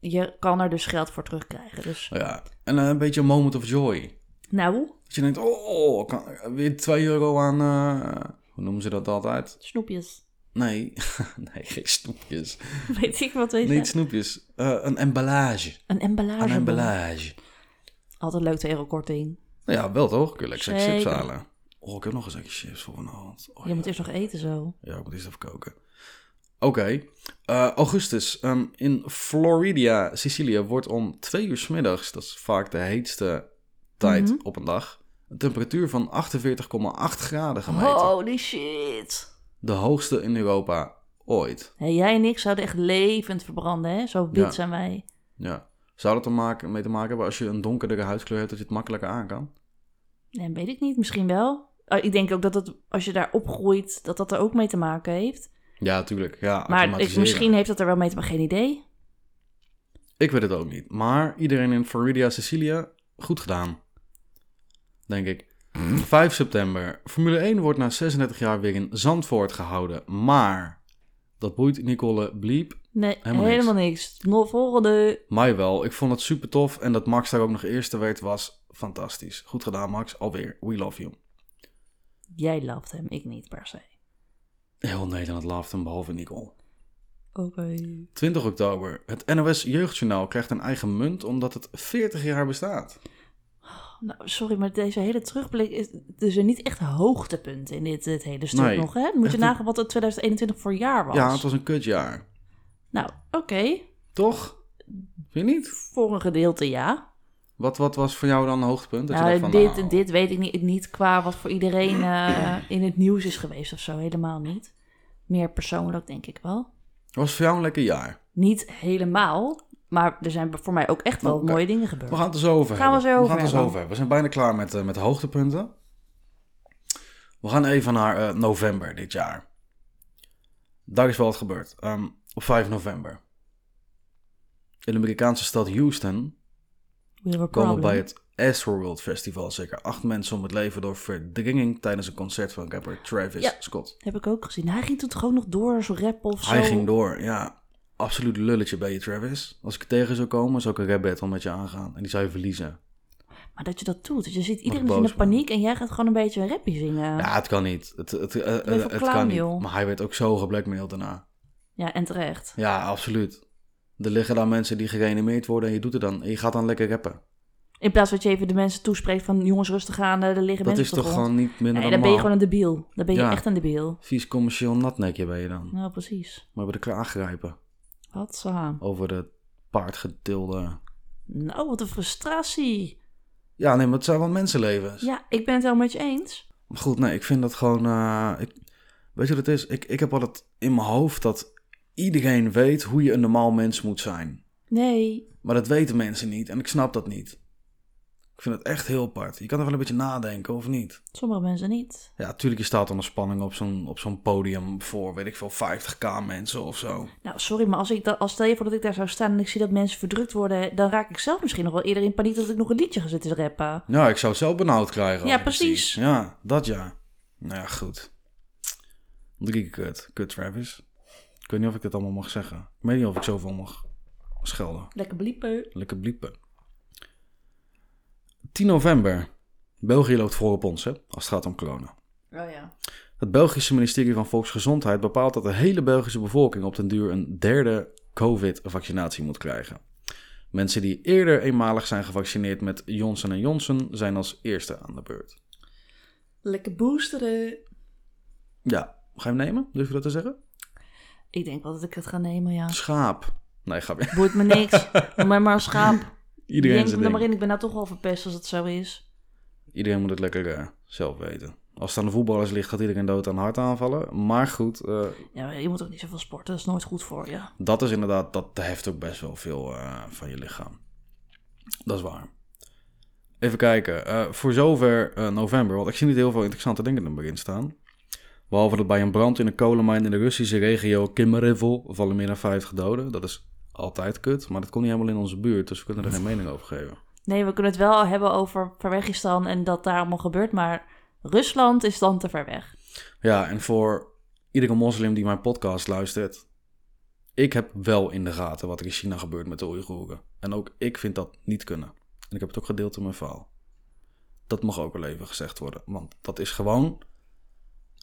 S2: Je kan er dus geld voor terugkrijgen. Dus
S1: Ja, en eh, een beetje een moment of joy.
S2: nou,
S1: Dat je denkt, oh, kan, weer 2 euro aan, eh, hoe noemen ze dat altijd?
S2: snoepjes.
S1: Nee, nee, geen snoepjes.
S2: Weet ik wat weet je.
S1: Niet snoepjes, Eh, een emballage.
S2: Een emballage.
S1: Een emballage.
S2: Altijd leuk, 2 euro korting.
S1: Nou ja, wel toch? Kun je lekker zakje chips
S2: Zeker.
S1: halen. Oh, ik heb nog een zakje chips voor mijn hand. Oh,
S2: Je
S1: ja.
S2: moet eerst nog eten zo.
S1: Ja, ik moet eerst even koken. Oké, eh, augustus. ehm, in Florida,
S2: Mhm.
S1: Sicilië, wordt om twee uur 's middags, dat is vaak de heetste tijd op een dag, Een temperatuur van 48,8 graden gemeten.
S2: Holy shit.
S1: De hoogste in Europa ooit.
S2: Hé, jij en ik zouden echt levend verbranden, hè? Zo wit
S1: Ja.
S2: zijn wij.
S1: Ja. Zou dat er maken, mee te maken hebben als je een donkerdere huidskleur hebt, dat je het makkelijker aan kan?
S2: Nee, weet ik niet. Misschien wel. Ah, Ik denk ook dat dat, als je daar opgroeit, dat dat er ook mee te maken heeft.
S1: Ja, tuurlijk. Ja,
S2: Maar ik,
S1: automatiseren.
S2: misschien heeft dat er wel mee te maken. Geen idee.
S1: Ik weet het ook niet. Maar iedereen in Florida, Sicilia, goed gedaan. Denk ik. 5 september. Formule 1 wordt na 36 jaar weer in Zandvoort gehouden. Maar dat boeit Nicole Bliep
S2: Nee,
S1: Helemaal niks.
S2: helemaal, niks. Nog volgende.
S1: mij wel. Ik vond het super tof. En dat Max daar ook nog eerste werd, was fantastisch. Goed gedaan, Max. Alweer. We love you.
S2: Jij loved hem, ik niet per se.
S1: Heel Nederland loved hem, behalve Nicole.
S2: Oké.
S1: 20 oktober. Het NOS Jeugdjournaal krijgt een eigen munt omdat het 40 jaar bestaat.
S2: Nou, sorry, maar deze hele terugblik is dus er niet echt hoogtepunt in dit, dit hele stuk
S1: Nee,
S2: nog, hè? Moet
S1: echt
S2: je
S1: een-
S2: nagaan wat het 2021 voor jaar was.
S1: Ja, het was een kutjaar.
S2: Nou, oké.
S1: Toch? Vind je niet?
S2: Voor een gedeelte ja.
S1: Wat, wat was voor jou dan een hoogtepunt? Dat je
S2: Nou,
S1: dacht van,
S2: dit,
S1: nou,
S2: dit weet ik niet, niet qua wat voor iedereen eh, in het nieuws is geweest of zo. Helemaal niet. Meer persoonlijk denk ik wel.
S1: was voor jou een lekker jaar.
S2: Niet helemaal, maar er zijn voor mij ook echt wel
S1: Oké.
S2: mooie dingen
S1: We
S2: gebeurd.
S1: gaan het er zo over
S2: Gaan we
S1: hebben.
S2: zo over
S1: we gaan het er zo
S2: hebben.
S1: over hebben. We zijn bijna klaar met, eh, met de hoogtepunten. We gaan even naar eh, november dit jaar. Daar is wel wat gebeurd. Ehm, op 5 november. In de Amerikaanse stad Houston
S2: We have a
S1: komen
S2: problem.
S1: bij het Astroworld Festival zeker acht mensen om het leven door verdringing tijdens een concert van rapper Travis
S2: Ja.
S1: Scott.
S2: Heb ik ook gezien. Hij ging toen gewoon nog door, zo'n rap of zo.
S1: Hij ging door, ja. Absoluut lulletje bij je, Travis. Als ik je tegen zou komen, zou ik een rap battle met je aangaan. En die zou je verliezen.
S2: Maar dat je dat doet. Dus je ziet iedereen
S1: boos
S2: in de
S1: man.
S2: paniek en jij gaat gewoon een beetje een rapje zingen. Ja,
S1: Ja, het kan niet. Het, het, eh, eh,
S2: ben je voor
S1: het
S2: clown,
S1: kan niet.
S2: joh.
S1: Maar hij werd ook zo geblackmailed daarna.
S2: en terecht.
S1: Ja, absoluut. Er liggen daar mensen die gereanimeerd worden en je doet het dan. En je gaat dan lekker rappen.
S2: In plaats dat je even de mensen toespreekt van jongens rustig aan, eh, er liggen
S1: Dat
S2: mensen
S1: is
S2: op de
S1: toch
S2: grond.
S1: gewoon niet minder
S2: Nee,
S1: dan
S2: dan ben je
S1: normaal.
S2: gewoon een debiel. Dan ben je
S1: Ja.
S2: echt een debiel.
S1: Vies commercieel natnekje ben je dan.
S2: Nou, precies.
S1: Maar we hebben elkaar aangrijpen
S2: Wat zo.
S1: over de paardgetilde...
S2: Nou, wat een frustratie.
S1: Ja, nee, maar het zijn wel mensenlevens.
S2: Ja, ik ben het helemaal met je eens.
S1: Maar goed, nee, ik vind dat gewoon. eh, ik, weet je wat het is? Ik, ik heb altijd in mijn hoofd dat iedereen weet hoe je een normaal mens moet zijn.
S2: Nee.
S1: Maar dat weten mensen niet en ik snap dat niet. Ik vind het echt heel apart. Je kan er wel een beetje nadenken, of niet?
S2: Sommige mensen niet.
S1: Ja, tuurlijk, je staat onder spanning op zo'n, op zo'n podium voor, weet ik veel, 50k mensen of zo.
S2: Nou, sorry, maar als ik dat, als stel je voor dat ik daar zou staan en ik zie dat mensen verdrukt worden, dan raak ik zelf misschien nog wel eerder in paniek dat ik nog een liedje ga zitten rappen.
S1: Nou, ik zou het zelf benauwd krijgen. als
S2: Ja,
S1: ik het zie.
S2: precies.
S1: Ja, dat ja. Nou ja, goed. Drie keer kut. Kut, Travis. Ik weet niet of ik dit allemaal mag zeggen. Ik weet niet of ik zoveel mag schelden.
S2: Lekker bliepen.
S1: Lekker bliepen. 10 november. België loopt voor op ons, hè, als het gaat om corona.
S2: Oh ja.
S1: Het Belgische ministerie van Volksgezondheid bepaalt dat de hele Belgische bevolking op den duur een derde COVID-vaccinatie moet krijgen. Mensen die eerder eenmalig zijn gevaccineerd met Johnson Johnson zijn als eerste aan de beurt.
S2: Lekker boosteren.
S1: Ja, ga je hem nemen? Durf je dat te zeggen?
S2: Ik denk wel dat ik het ga nemen, ja.
S1: Schaap. Nee, ga weer.
S2: Boeit me niks. Noem mij maar een schaap.
S1: Iedereen,
S2: Denk
S1: zijn
S2: me er maar
S1: ding.
S2: in. Ik ben nou toch al verpest als het zo is.
S1: Iedereen moet het lekker eh, zelf weten. Als het aan de voetballers ligt, gaat iedereen dood aan hartaanvallen. Maar goed, eh,
S2: Ja, maar je moet ook niet zoveel sporten. Dat is nooit goed voor je.
S1: Dat is inderdaad, dat heft ook best wel veel eh, van je lichaam. Dat is waar. Even kijken. eh, voor zover eh, november, want ik zie niet heel veel interessante dingen er maar in staan. Behalve dat bij een brand in een kolenmijn in de Russische regio Kimarevo vallen meer dan 50 doden. Dat is altijd kut, maar dat komt niet helemaal in onze buurt, dus we kunnen er geen mening over geven.
S2: Nee, we kunnen het wel hebben over Verwegistan en dat daar allemaal gebeurt. Maar Rusland is dan te ver weg.
S1: Ja, en voor iedere moslim die mijn podcast luistert, ik heb wel in de gaten wat er in China gebeurt met de Oeigoeren. En ook ik vind dat niet kunnen. En ik heb het ook gedeeld in mijn verhaal. Dat mag ook wel even gezegd worden, want dat is gewoon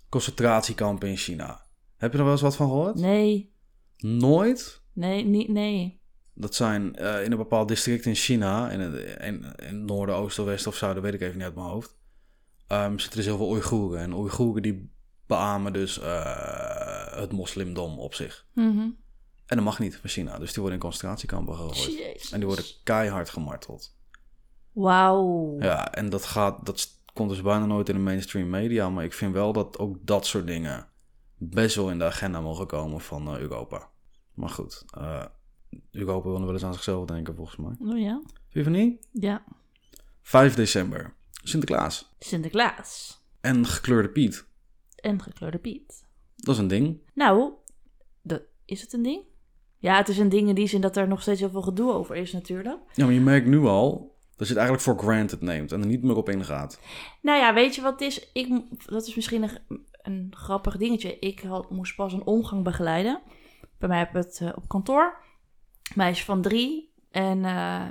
S1: concentratiekampen in China. Heb je er wel eens wat van gehoord?
S2: Nee,
S1: Nooit?
S2: nee, niet, nee.
S1: Dat zijn eh, in een bepaald district in China, in het, in, in het noorden, oosten, westen of zuiden, weet ik even niet uit mijn hoofd. ehm, zitten dus heel veel Oeigoeren. En Oeigoeren die beamen dus eh, het moslimdom op zich.
S2: Mhm.
S1: En dat mag niet van China. Dus die worden in concentratiekampen gegooid.
S2: Jezus.
S1: En die worden keihard gemarteld.
S2: Wauw.
S1: Ja, en dat gaat, dat komt dus bijna nooit in de mainstream media. Maar ik vind wel dat ook dat soort dingen best wel in de agenda mogen komen van eh, Europa. Maar goed, eh, Europa wil nog wel eens aan zichzelf denken volgens mij.
S2: Oh ja?
S1: Vind je van niet?
S2: Ja.
S1: 5 december, Sinterklaas
S2: Sinterklaas.
S1: en gekleurde Piet.
S2: En gekleurde Piet.
S1: Dat is een ding.
S2: Nou, dat, is het een ding? Ja, het is een ding in die zin dat er nog steeds heel veel gedoe over is natuurlijk.
S1: Ja, maar je merkt nu al dat je het eigenlijk voor granted neemt en er niet meer op ingaat.
S2: Nou ja, weet je wat het is? Ik, mo- dat is misschien een, een grappig dingetje. Ik had, moest pas een omgang begeleiden. Bij mij op, het, eh, op kantoor. Meisje van drie. En eh,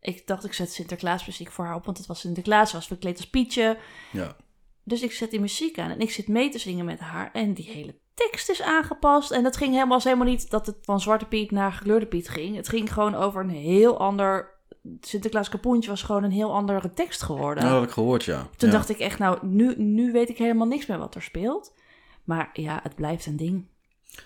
S2: ik dacht, ik zet Sinterklaas muziek voor haar op. Want het was Sinterklaas. Ze was verkleed als Pietje.
S1: Ja.
S2: Dus ik zet die muziek aan en ik zit mee te zingen met haar. En die hele tekst is aangepast. En dat ging helemaal, was helemaal niet dat het van Zwarte Piet naar Gekleurde Piet ging. Het ging gewoon over een heel ander... Sinterklaas Kapoentje was gewoon een heel andere tekst geworden.
S1: Nou, dat heb ik gehoord, ja.
S2: Toen
S1: Ja.
S2: dacht ik echt, nou, nu, nu weet ik helemaal niks meer wat er speelt. Maar ja, het blijft een ding.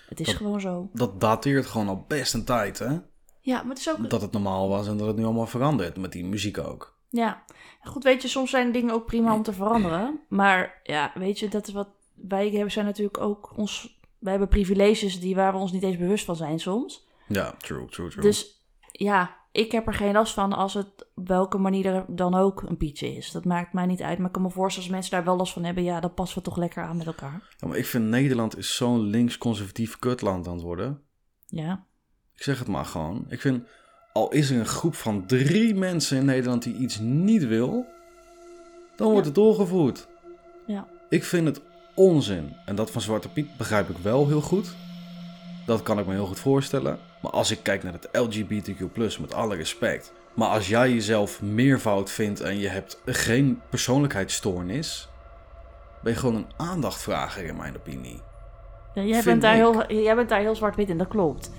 S2: Het is
S1: Dat-
S2: gewoon zo.
S1: Dat dateert gewoon al best een tijd, hè?
S2: Ja, maar het is ook...
S1: Dat het normaal was en dat het nu allemaal verandert. Met die muziek ook.
S2: Ja. Goed, weet je, soms zijn dingen ook prima om te veranderen. Maar ja, weet je, dat is wat... Wij hebben zijn natuurlijk ook ons... Wij hebben privileges die waar we ons niet eens bewust van zijn soms.
S1: Ja, true, true, true.
S2: Dus ja, ik heb er geen last van als het op welke manier er dan ook een pietje is. Dat maakt mij niet uit. Maar ik kan me voorstellen als mensen daar wel last van hebben. Ja, dan passen we toch lekker aan met elkaar.
S1: Ja, maar ik vind Nederland is zo'n links-conservatief kutland aan het worden.
S2: Ja.
S1: Ik zeg het maar gewoon. Ik vind, al is er een groep van drie mensen in Nederland die iets niet wil, dan wordt
S2: Ja.
S1: het doorgevoerd.
S2: Ja.
S1: Ik vind het onzin. En dat van Zwarte Piet begrijp ik wel heel goed. Dat kan ik me heel goed voorstellen. Maar als ik kijk naar het LGBTQ+, met alle respect. Maar als jij jezelf meervoud vindt en je hebt geen persoonlijkheidsstoornis... ben je gewoon een aandachtvrager in mijn opinie.
S2: Ja, jij,
S1: Vind
S2: bent daar
S1: ik.
S2: heel, jij bent daar heel zwart-wit in, dat klopt.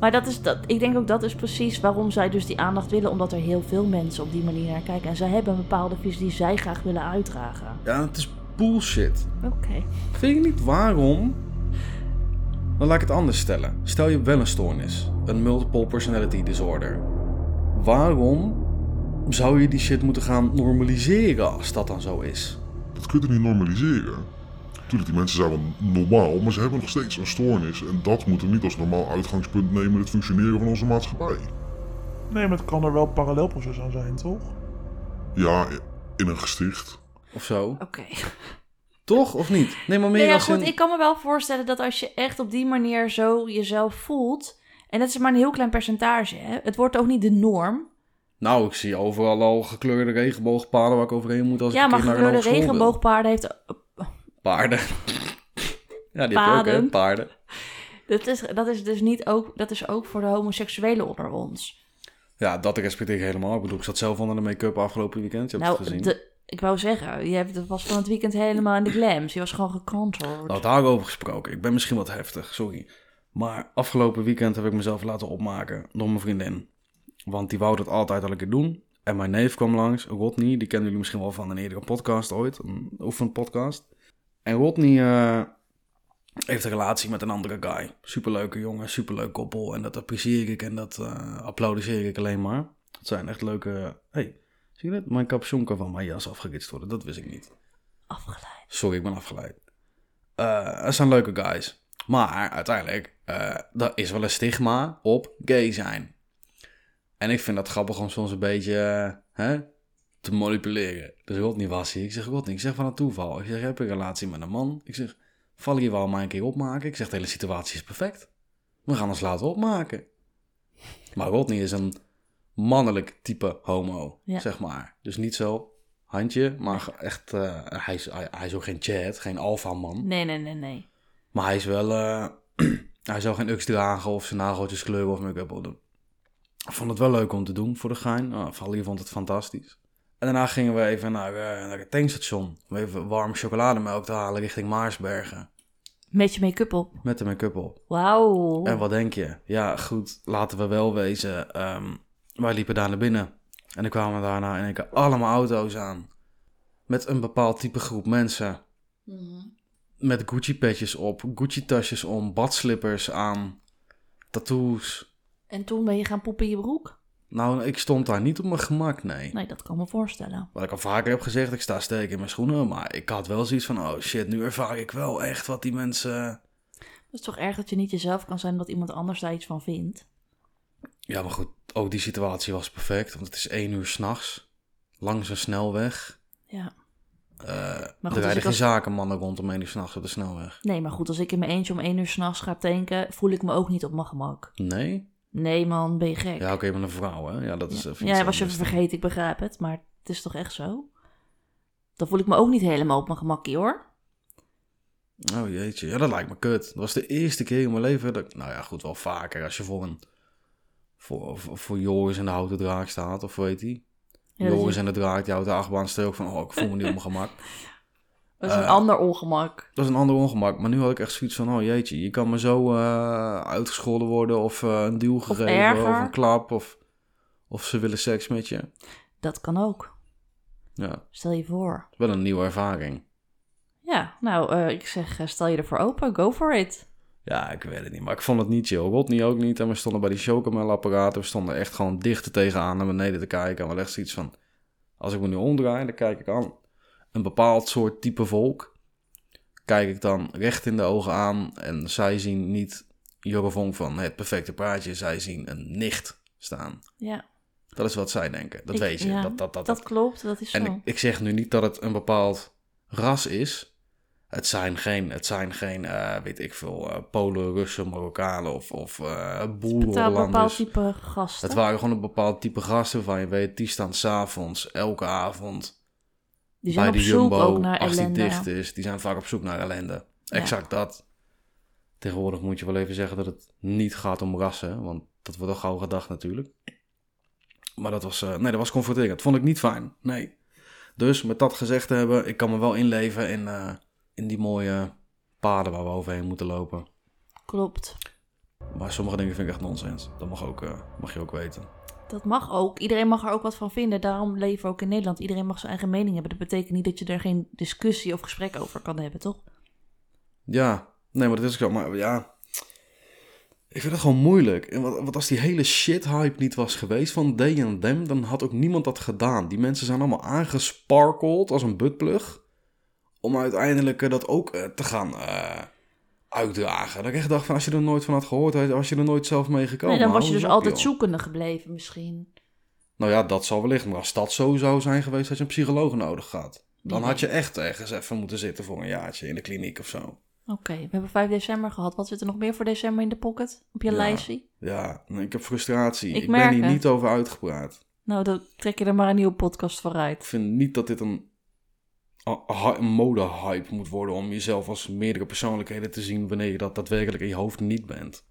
S2: Maar dat is, dat, ik denk ook dat is precies waarom zij dus die aandacht willen. Omdat er heel veel mensen op die manier naar kijken. En zij hebben een bepaalde visie die zij graag willen uitdragen.
S1: Ja, het is bullshit.
S2: Oké.
S1: Vind je niet waarom? Dan laat ik het anders stellen. Stel je hebt wel een stoornis, een multiple personality disorder. Waarom zou je die shit moeten gaan normaliseren als dat dan zo is?
S3: Dat kun je niet normaliseren. Tuurlijk, die mensen zijn wel normaal, maar ze hebben nog steeds een stoornis. En dat moeten we niet als normaal uitgangspunt nemen in het functioneren van onze maatschappij.
S4: Nee, maar het kan er wel een parallelproces aan zijn, toch?
S3: Ja, in een gesticht.
S1: Of zo?
S2: Oké.
S1: Toch of niet? Nee, maar meer
S2: Nee, ja,
S1: als
S2: goed.
S1: een-
S2: Ik kan me wel voorstellen dat als je echt op die manier zo jezelf voelt. En dat is maar een heel klein percentage. Hè? Het wordt ook niet de norm.
S1: Nou, ik zie overal al gekleurde regenboogpaden waar ik overheen moet als
S2: Ja,
S1: ik een
S2: maar
S1: keer naar een
S2: gekleurde
S1: hogeschool wil.
S2: regenboogpaarden heeft
S1: Paarden. ja, die heb je ook, hè?
S2: Paden.
S1: Paarden.
S2: Dat is, dat is dus niet ook, dat is ook voor de homoseksuelen onder ons.
S1: Ja, dat respecteer ik helemaal. Ik bedoel, ik zat zelf onder de make-up afgelopen weekend. Je hebt het
S2: nou,
S1: gezien.
S2: de, ik wou zeggen, je hebt, dat was van het weekend helemaal in de glams. Je was gewoon gekanteld.
S1: Nou, daarover gesproken. Ik ben misschien wat heftig, sorry. Maar afgelopen weekend heb ik mezelf laten opmaken door mijn vriendin. Want die wou dat altijd al een keer doen. En mijn neef kwam langs, Rodney. Die kennen jullie misschien wel van een eerdere podcast ooit. Een oefenpodcast. En Rodney eh, heeft een relatie met een andere guy. Superleuke jongen, superleuk koppel. En dat apprecieer ik en dat eh applaudisseer ik alleen maar. Dat zijn echt leuke... hey, zie je dat? Mijn capuchon kan van mijn jas afgeritst worden. Dat wist ik niet.
S2: Afgeleid.
S1: Sorry, ik ben afgeleid. Eh het zijn leuke guys. Maar uiteindelijk, eh er is wel een stigma op gay zijn. En ik vind dat grappig om soms een beetje eh, hè, te manipuleren. Dus Rodney was hier. Ik zeg, Rodney, ik zeg van een toeval. Ik zeg, heb ik een relatie met een man? Ik zeg, val je wel maar een keer opmaken? Ik zeg, de hele situatie is perfect. We gaan ons laten opmaken. Maar Rodney is een mannelijk type homo,
S2: Ja.
S1: zeg maar. Dus niet zo handje, maar ge- echt... eh, hij, is, hij, hij is ook geen Chad, geen alfa man.
S2: Nee, nee, nee, nee.
S1: Maar hij is wel. eh, hij zou geen UX dragen of zijn nageltjes kleuren of make-up op doen. Ik vond het wel leuk om te doen voor de gein. Ah, Valie vond het fantastisch. En daarna gingen we even naar, eh, naar het tankstation. Om even warm chocolademelk te halen richting Maarsbergen.
S2: Met je make-up op.
S1: Met de make-up op.
S2: Wauw.
S1: En wat denk je? Ja, goed, laten we wel wezen. ehm, wij liepen daar naar binnen. En er kwamen daarna in één keer allemaal auto's aan. Met een bepaald type groep mensen. Met Gucci-petjes op, Gucci-tasjes om, badslippers aan, tattoos.
S2: En toen ben je gaan poepen in je broek.
S1: Nou, ik stond daar niet op mijn gemak, nee.
S2: Nee, dat kan me voorstellen.
S1: Wat ik al vaker heb gezegd, ik sta sterk in mijn schoenen. Maar ik had wel zoiets van, oh shit, nu ervaar ik wel echt wat die mensen...
S2: Het is toch erg dat je niet jezelf kan zijn omdat iemand anders daar iets van vindt.
S1: Ja, maar goed, ook die situatie was perfect. Want het is één uur s'nachts, langs een snelweg.
S2: Ja.
S1: Eh
S2: als
S1: er rijden
S2: ik
S1: geen
S2: als-
S1: zakenmannen rond om één uur s'nachts op de snelweg.
S2: Nee, maar goed, als ik in mijn eentje om één uur s'nachts ga tanken, voel ik me ook niet op mijn gemak.
S1: Nee?
S2: Nee man, ben je gek.
S1: Ja, oké, maar een vrouw, hè? Ja, dat is eh, even
S2: Ja,
S1: iets
S2: hij was je
S1: anders.
S2: vergeten, ik begrijp het, maar het is toch echt zo? Dan voel ik me ook niet helemaal op mijn gemakkie hoor.
S1: Oh jeetje, ja, dat lijkt me kut. Dat was de eerste keer in mijn leven dat ik- nou ja, goed, wel vaker als je voor een, voor, voor, voor Joris en de houten draak staat, of hoe heet die?
S2: Ja, dat
S1: Joris
S2: is-
S1: en de draak, die houten achtbaan, stel ook van, oh, ik voel me niet op mijn gemak.
S2: dat is een
S1: eh,
S2: ander ongemak.
S1: Dat is een ander ongemak, maar nu had ik echt zoiets van, oh jeetje, je kan maar zo eh, uitgescholden worden, of eh, een duw gegeven, of,
S2: erger.
S1: een klap, of, of ze willen seks met je.
S2: Dat kan ook.
S1: Ja, het
S2: Stel je voor.
S1: is wel een nieuwe ervaring.
S2: Ja, nou, eh, ik zeg, eh, stel je ervoor open, go for it.
S1: Ja, ik weet het niet, maar ik vond het niet chill. Rodney ook niet. En we stonden bij die chocomelapparaten. We stonden echt gewoon dichter tegenaan naar beneden te kijken. En we echt zoiets van... Als ik me nu omdraai, dan kijk ik aan een bepaald soort type volk. Kijk ik dan recht in de ogen aan. En zij zien niet Jorvong van het perfecte praatje. Zij zien een nicht staan.
S2: Ja,
S1: Dat is wat zij denken. Dat
S2: Ik-
S1: weet je.
S2: ja,
S1: dat, dat, dat,
S2: dat klopt, dat is zo.
S1: en ik, ik zeg nu niet dat het een bepaald ras is. Het zijn geen, het zijn geen eh, weet ik veel, eh, Polen, Russen, Marokkanen of, of eh boeren,
S2: Betaal bepaald
S1: Hollanders.
S2: type gasten.
S1: Het waren gewoon een bepaald type gasten van je weet, die staan s'avonds, elke avond,
S2: die zijn
S1: bij
S2: op
S1: de
S2: zoek ook
S1: Jumbo,
S2: naar
S1: als die
S2: ellende.
S1: dicht is. Die zijn vaak op zoek naar ellende.
S2: Ja.
S1: Exact dat. Tegenwoordig moet je wel even zeggen dat het niet gaat om rassen, want dat wordt al gauw gedacht natuurlijk. Maar dat was, eh, nee, dat was confronterend. Vond ik niet fijn, nee. Dus met dat gezegd te hebben, ik kan me wel inleven in, eh, in die mooie paden waar we overheen moeten lopen.
S2: Klopt.
S1: Maar sommige dingen vind ik echt nonsens. Dat mag, ook, eh, mag je ook weten.
S2: Dat mag ook. Iedereen mag er ook wat van vinden. Daarom leven we ook in Nederland. Iedereen mag zijn eigen mening hebben. Dat betekent niet dat je er geen discussie of gesprek over kan hebben, toch?
S1: Ja, nee, maar dat is ook zo. Maar ja, ik vind het gewoon moeilijk. En wat, wat als die hele shit-hype niet was geweest van D&M, dan had ook niemand dat gedaan. Die mensen zijn allemaal aangesparkeld als een buttplug. Om uiteindelijk eh, dat ook eh, te gaan eh, uitdragen. Dat ik echt dacht van, als je er nooit van had gehoord, had- was je er nooit zelf mee gekomen.
S2: Nee, dan was je
S1: Hou
S2: dus
S1: eens op,
S2: altijd
S1: joh.
S2: zoekende gebleven misschien.
S1: Nou ja, dat zal wellicht. Maar als dat zo zou zijn geweest, had je een psycholoog nodig gehad. Dan
S2: Nee.
S1: had je echt ergens even moeten zitten voor een jaartje in de kliniek of zo.
S2: Oké, we hebben 5 december gehad. Wat zit er nog meer voor december in de pocket? Op je
S1: Ja.
S2: lijstje?
S1: Ja, nee, ik heb frustratie.
S2: Ik
S1: Ik,
S2: merk
S1: ben hier
S2: het.
S1: niet over uitgepraat.
S2: Nou, dan trek je er maar een nieuwe podcast voor
S1: Ik
S2: uit.
S1: vind niet dat dit een, a- a- een mode-hype moet worden om jezelf als meerdere persoonlijkheden te zien wanneer je dat daadwerkelijk in je hoofd niet bent.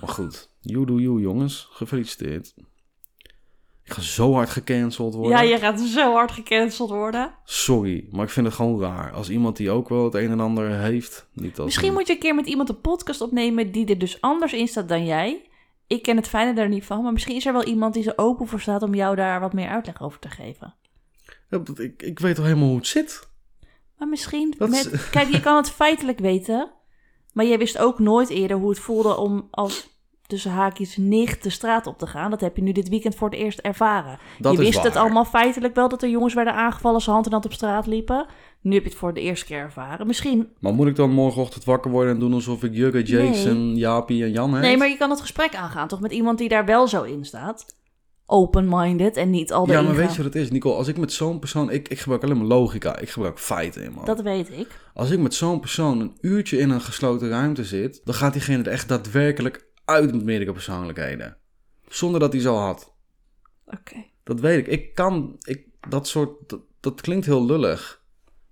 S1: Maar goed, you do you jongens. Gefeliciteerd. Ik ga zo hard gecanceld worden.
S2: Ja, je gaat zo hard gecanceld worden.
S1: Sorry, maar ik vind het gewoon raar. Als iemand die ook wel het een en ander heeft, niet als
S2: Misschien
S1: een-
S2: moet je een keer met iemand een podcast opnemen die er dus anders in staat dan jij. Ik ken het fijne daar niet van, maar misschien is er wel iemand die er open voor staat om jou daar wat meer uitleg over te geven.
S1: Ja, want ik, ik weet toch helemaal hoe het zit?
S2: Maar misschien
S1: Dat is-
S2: met... Kijk, je kan het feitelijk weten, maar jij wist ook nooit eerder hoe het voelde om als tussen haakjes nicht de straat op te gaan. Dat heb je nu dit weekend voor het eerst ervaren.
S1: Dat
S2: je
S1: is
S2: wist het
S1: waar.
S2: allemaal feitelijk wel dat er jongens werden aangevallen, ze hand in hand op straat liepen. Nu heb je het voor de eerste keer ervaren. Misschien...
S1: Maar moet ik dan morgenochtend wakker worden en doen alsof ik Jurre, Jason, Jaapie en Jan heet?
S2: Nee, maar je kan het gesprek aangaan, toch? Met iemand die daar wel zo in staat. Open-minded en niet al de
S1: Ja, maar weet je wat het is, Nicole? Als ik met zo'n persoon... Ik, ik gebruik alleen maar logica. Ik gebruik feiten in, man.
S2: Dat weet ik.
S1: Als ik met zo'n persoon een uurtje in een gesloten ruimte zit... dan gaat diegene er echt daadwerkelijk uit met meerdere persoonlijkheden. Zonder dat hij zo had.
S2: Oké.
S1: Dat weet ik. Ik kan... Ik, dat soort... Dat, dat klinkt heel lullig.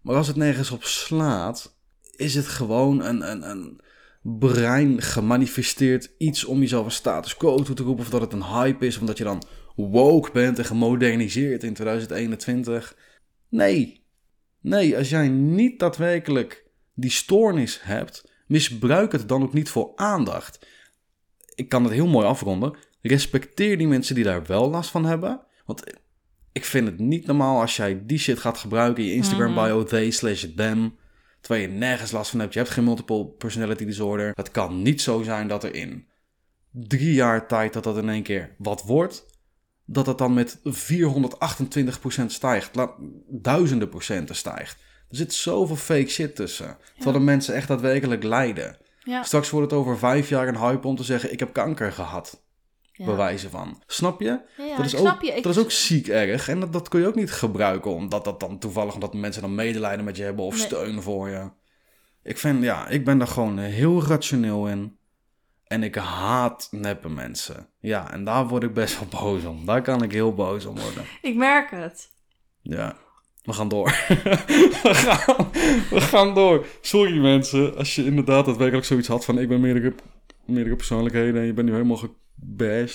S1: Maar als het nergens op slaat... is het gewoon een... een, een brein gemanifesteerd iets om jezelf een status quo toe te roepen... of dat het een hype is, omdat je dan woke bent en gemoderniseerd in 2021. Nee. Nee, als jij niet daadwerkelijk die stoornis hebt... misbruik het dan ook niet voor aandacht. Ik kan het heel mooi afronden. Respecteer die mensen die daar wel last van hebben... want ik vind het niet normaal als jij die shit gaat gebruiken... in je Instagram bio, they slash them... Terwijl je nergens last van hebt. Je hebt geen multiple personality disorder. Het kan niet zo zijn dat er in drie jaar tijd dat dat in één keer wat wordt, dat dat dan met 428% stijgt, la- duizenden procenten stijgt. Er zit zoveel fake shit tussen. Terwijl de mensen echt daadwerkelijk lijden.
S2: Ja.
S1: Straks wordt het over vijf jaar een hype om te zeggen: ik heb kanker gehad.
S2: Ja.
S1: Bewijzen van. Snap je?
S2: Ja, ja,
S1: dat is
S2: ik
S1: ook,
S2: snap je. Ik-
S1: Dat is ook ziek erg. En dat, dat kun je ook niet gebruiken omdat dat dan toevallig omdat mensen dan medelijden met je hebben of
S2: Nee.
S1: steun voor je. Ik vind, ja, ik ben daar gewoon eh, heel rationeel in. En ik haat neppe mensen. Ja, en daar word ik best wel boos om. Daar kan ik heel boos om worden.
S2: Ik merk het.
S1: Ja, we gaan door. we, gaan, we gaan door. Sorry mensen, als je inderdaad daadwerkelijk zoiets had van ik ben meerdere, meerdere persoonlijkheden en je bent nu helemaal gebashed.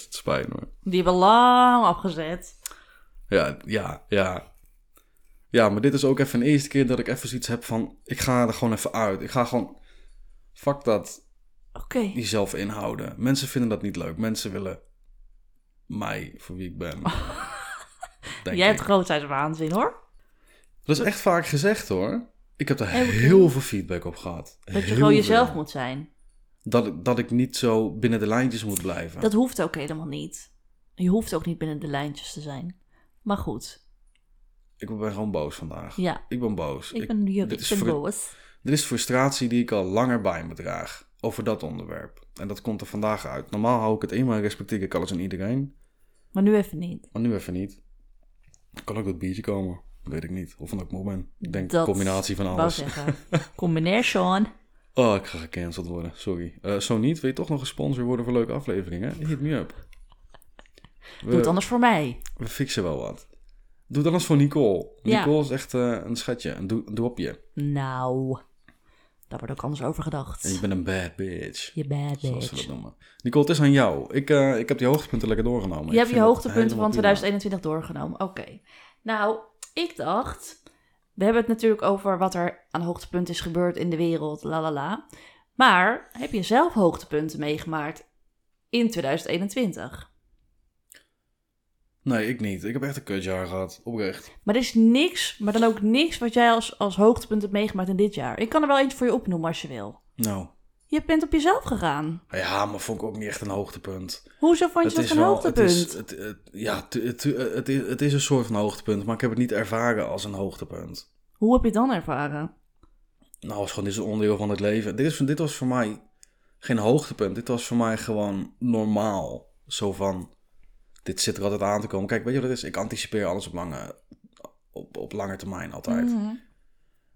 S1: Het spijt me.
S2: Die hebben we lang afgezet.
S1: Ja, ja, ja. Ja, maar dit is ook even de eerste keer dat ik even zoiets heb van ik ga er gewoon even uit. Ik ga gewoon, fuck dat,
S2: Oké.
S1: jezelf inhouden. Mensen vinden dat niet leuk. Mensen willen mij voor wie ik ben. Denk
S2: Jij
S1: ik.
S2: hebt grootheidswaanzin hoor.
S1: Dat is echt vaak gezegd hoor. Ik heb er
S2: Heel veel.
S1: heel veel feedback op gehad.
S2: Dat je
S1: Heel
S2: gewoon
S1: veel.
S2: jezelf moet zijn.
S1: Dat ik, dat ik niet zo binnen de lijntjes moet blijven.
S2: Dat hoeft ook helemaal niet. Je hoeft ook niet binnen de lijntjes te zijn. Maar goed.
S1: Ik ben gewoon boos vandaag.
S2: Ja.
S1: Ik ben boos.
S2: Ik ben juf,
S1: dit, is
S2: ik ben
S1: fru-
S2: boos.
S1: dit is frustratie die ik al langer bij me draag. Over dat onderwerp. En dat komt er vandaag uit. Normaal hou ik het in, maar respecteer ik alles en iedereen.
S2: Maar nu even niet.
S1: Maar nu even niet. Kan ook dat biertje komen. Weet ik niet. Of van ook moe ben. Ik denk
S2: Dat
S1: combinatie van
S2: wou
S1: alles.
S2: zeggen. Combination.
S1: Oh, ik ga gecanceld worden. Sorry. Eh, zo niet. Wil je toch nog een sponsor worden voor leuke afleveringen? Hit me up.
S2: Doe het
S1: We,
S2: anders voor mij.
S1: we fixen wel wat. Doe het anders voor Nicole.
S2: Ja.
S1: Nicole is echt eh, een schatje. Een doe- een dopje.
S2: Nou. Daar wordt ook anders over
S1: En je
S2: gedacht.
S1: bent een bad bitch.
S2: Je bad
S1: Zoals ze dat
S2: bitch.
S1: noemen. Nicole, het is aan jou. Ik, eh, ik heb die hoogtepunten lekker doorgenomen.
S2: Je
S1: Ik
S2: hebt je
S1: vind het
S2: hoogtepunten van
S1: helemaal prima.
S2: 2021 doorgenomen. Oké. Nou, ik dacht. We hebben het natuurlijk over wat er aan hoogtepunten is gebeurd in de wereld. La la la. Maar heb je zelf hoogtepunten meegemaakt in 2021?
S1: Nee, ik niet. Ik heb echt een kutjaar gehad. Oprecht.
S2: Maar er is niks, maar dan ook niks wat jij als, als hoogtepunt hebt meegemaakt in dit jaar. Ik kan er wel eentje voor je opnoemen als je wil.
S1: Nou.
S2: Je bent op jezelf gegaan.
S1: Ja, maar vond ik ook niet echt een hoogtepunt.
S2: Hoezo vond je dat een
S1: het
S2: hoogtepunt?
S1: is, het, het- ja, het, het, het, is, het is een soort van hoogtepunt, maar ik heb het niet ervaren als een hoogtepunt.
S2: Hoe heb je het dan ervaren?
S1: Nou, het is gewoon dit is een onderdeel van het leven. Dit, is, dit was voor mij geen hoogtepunt. Dit was voor mij gewoon normaal. Zo van, dit zit er altijd aan te komen. Kijk, weet je wat het is? Ik anticipeer alles op lange, op, op lange termijn altijd.
S2: Mhm.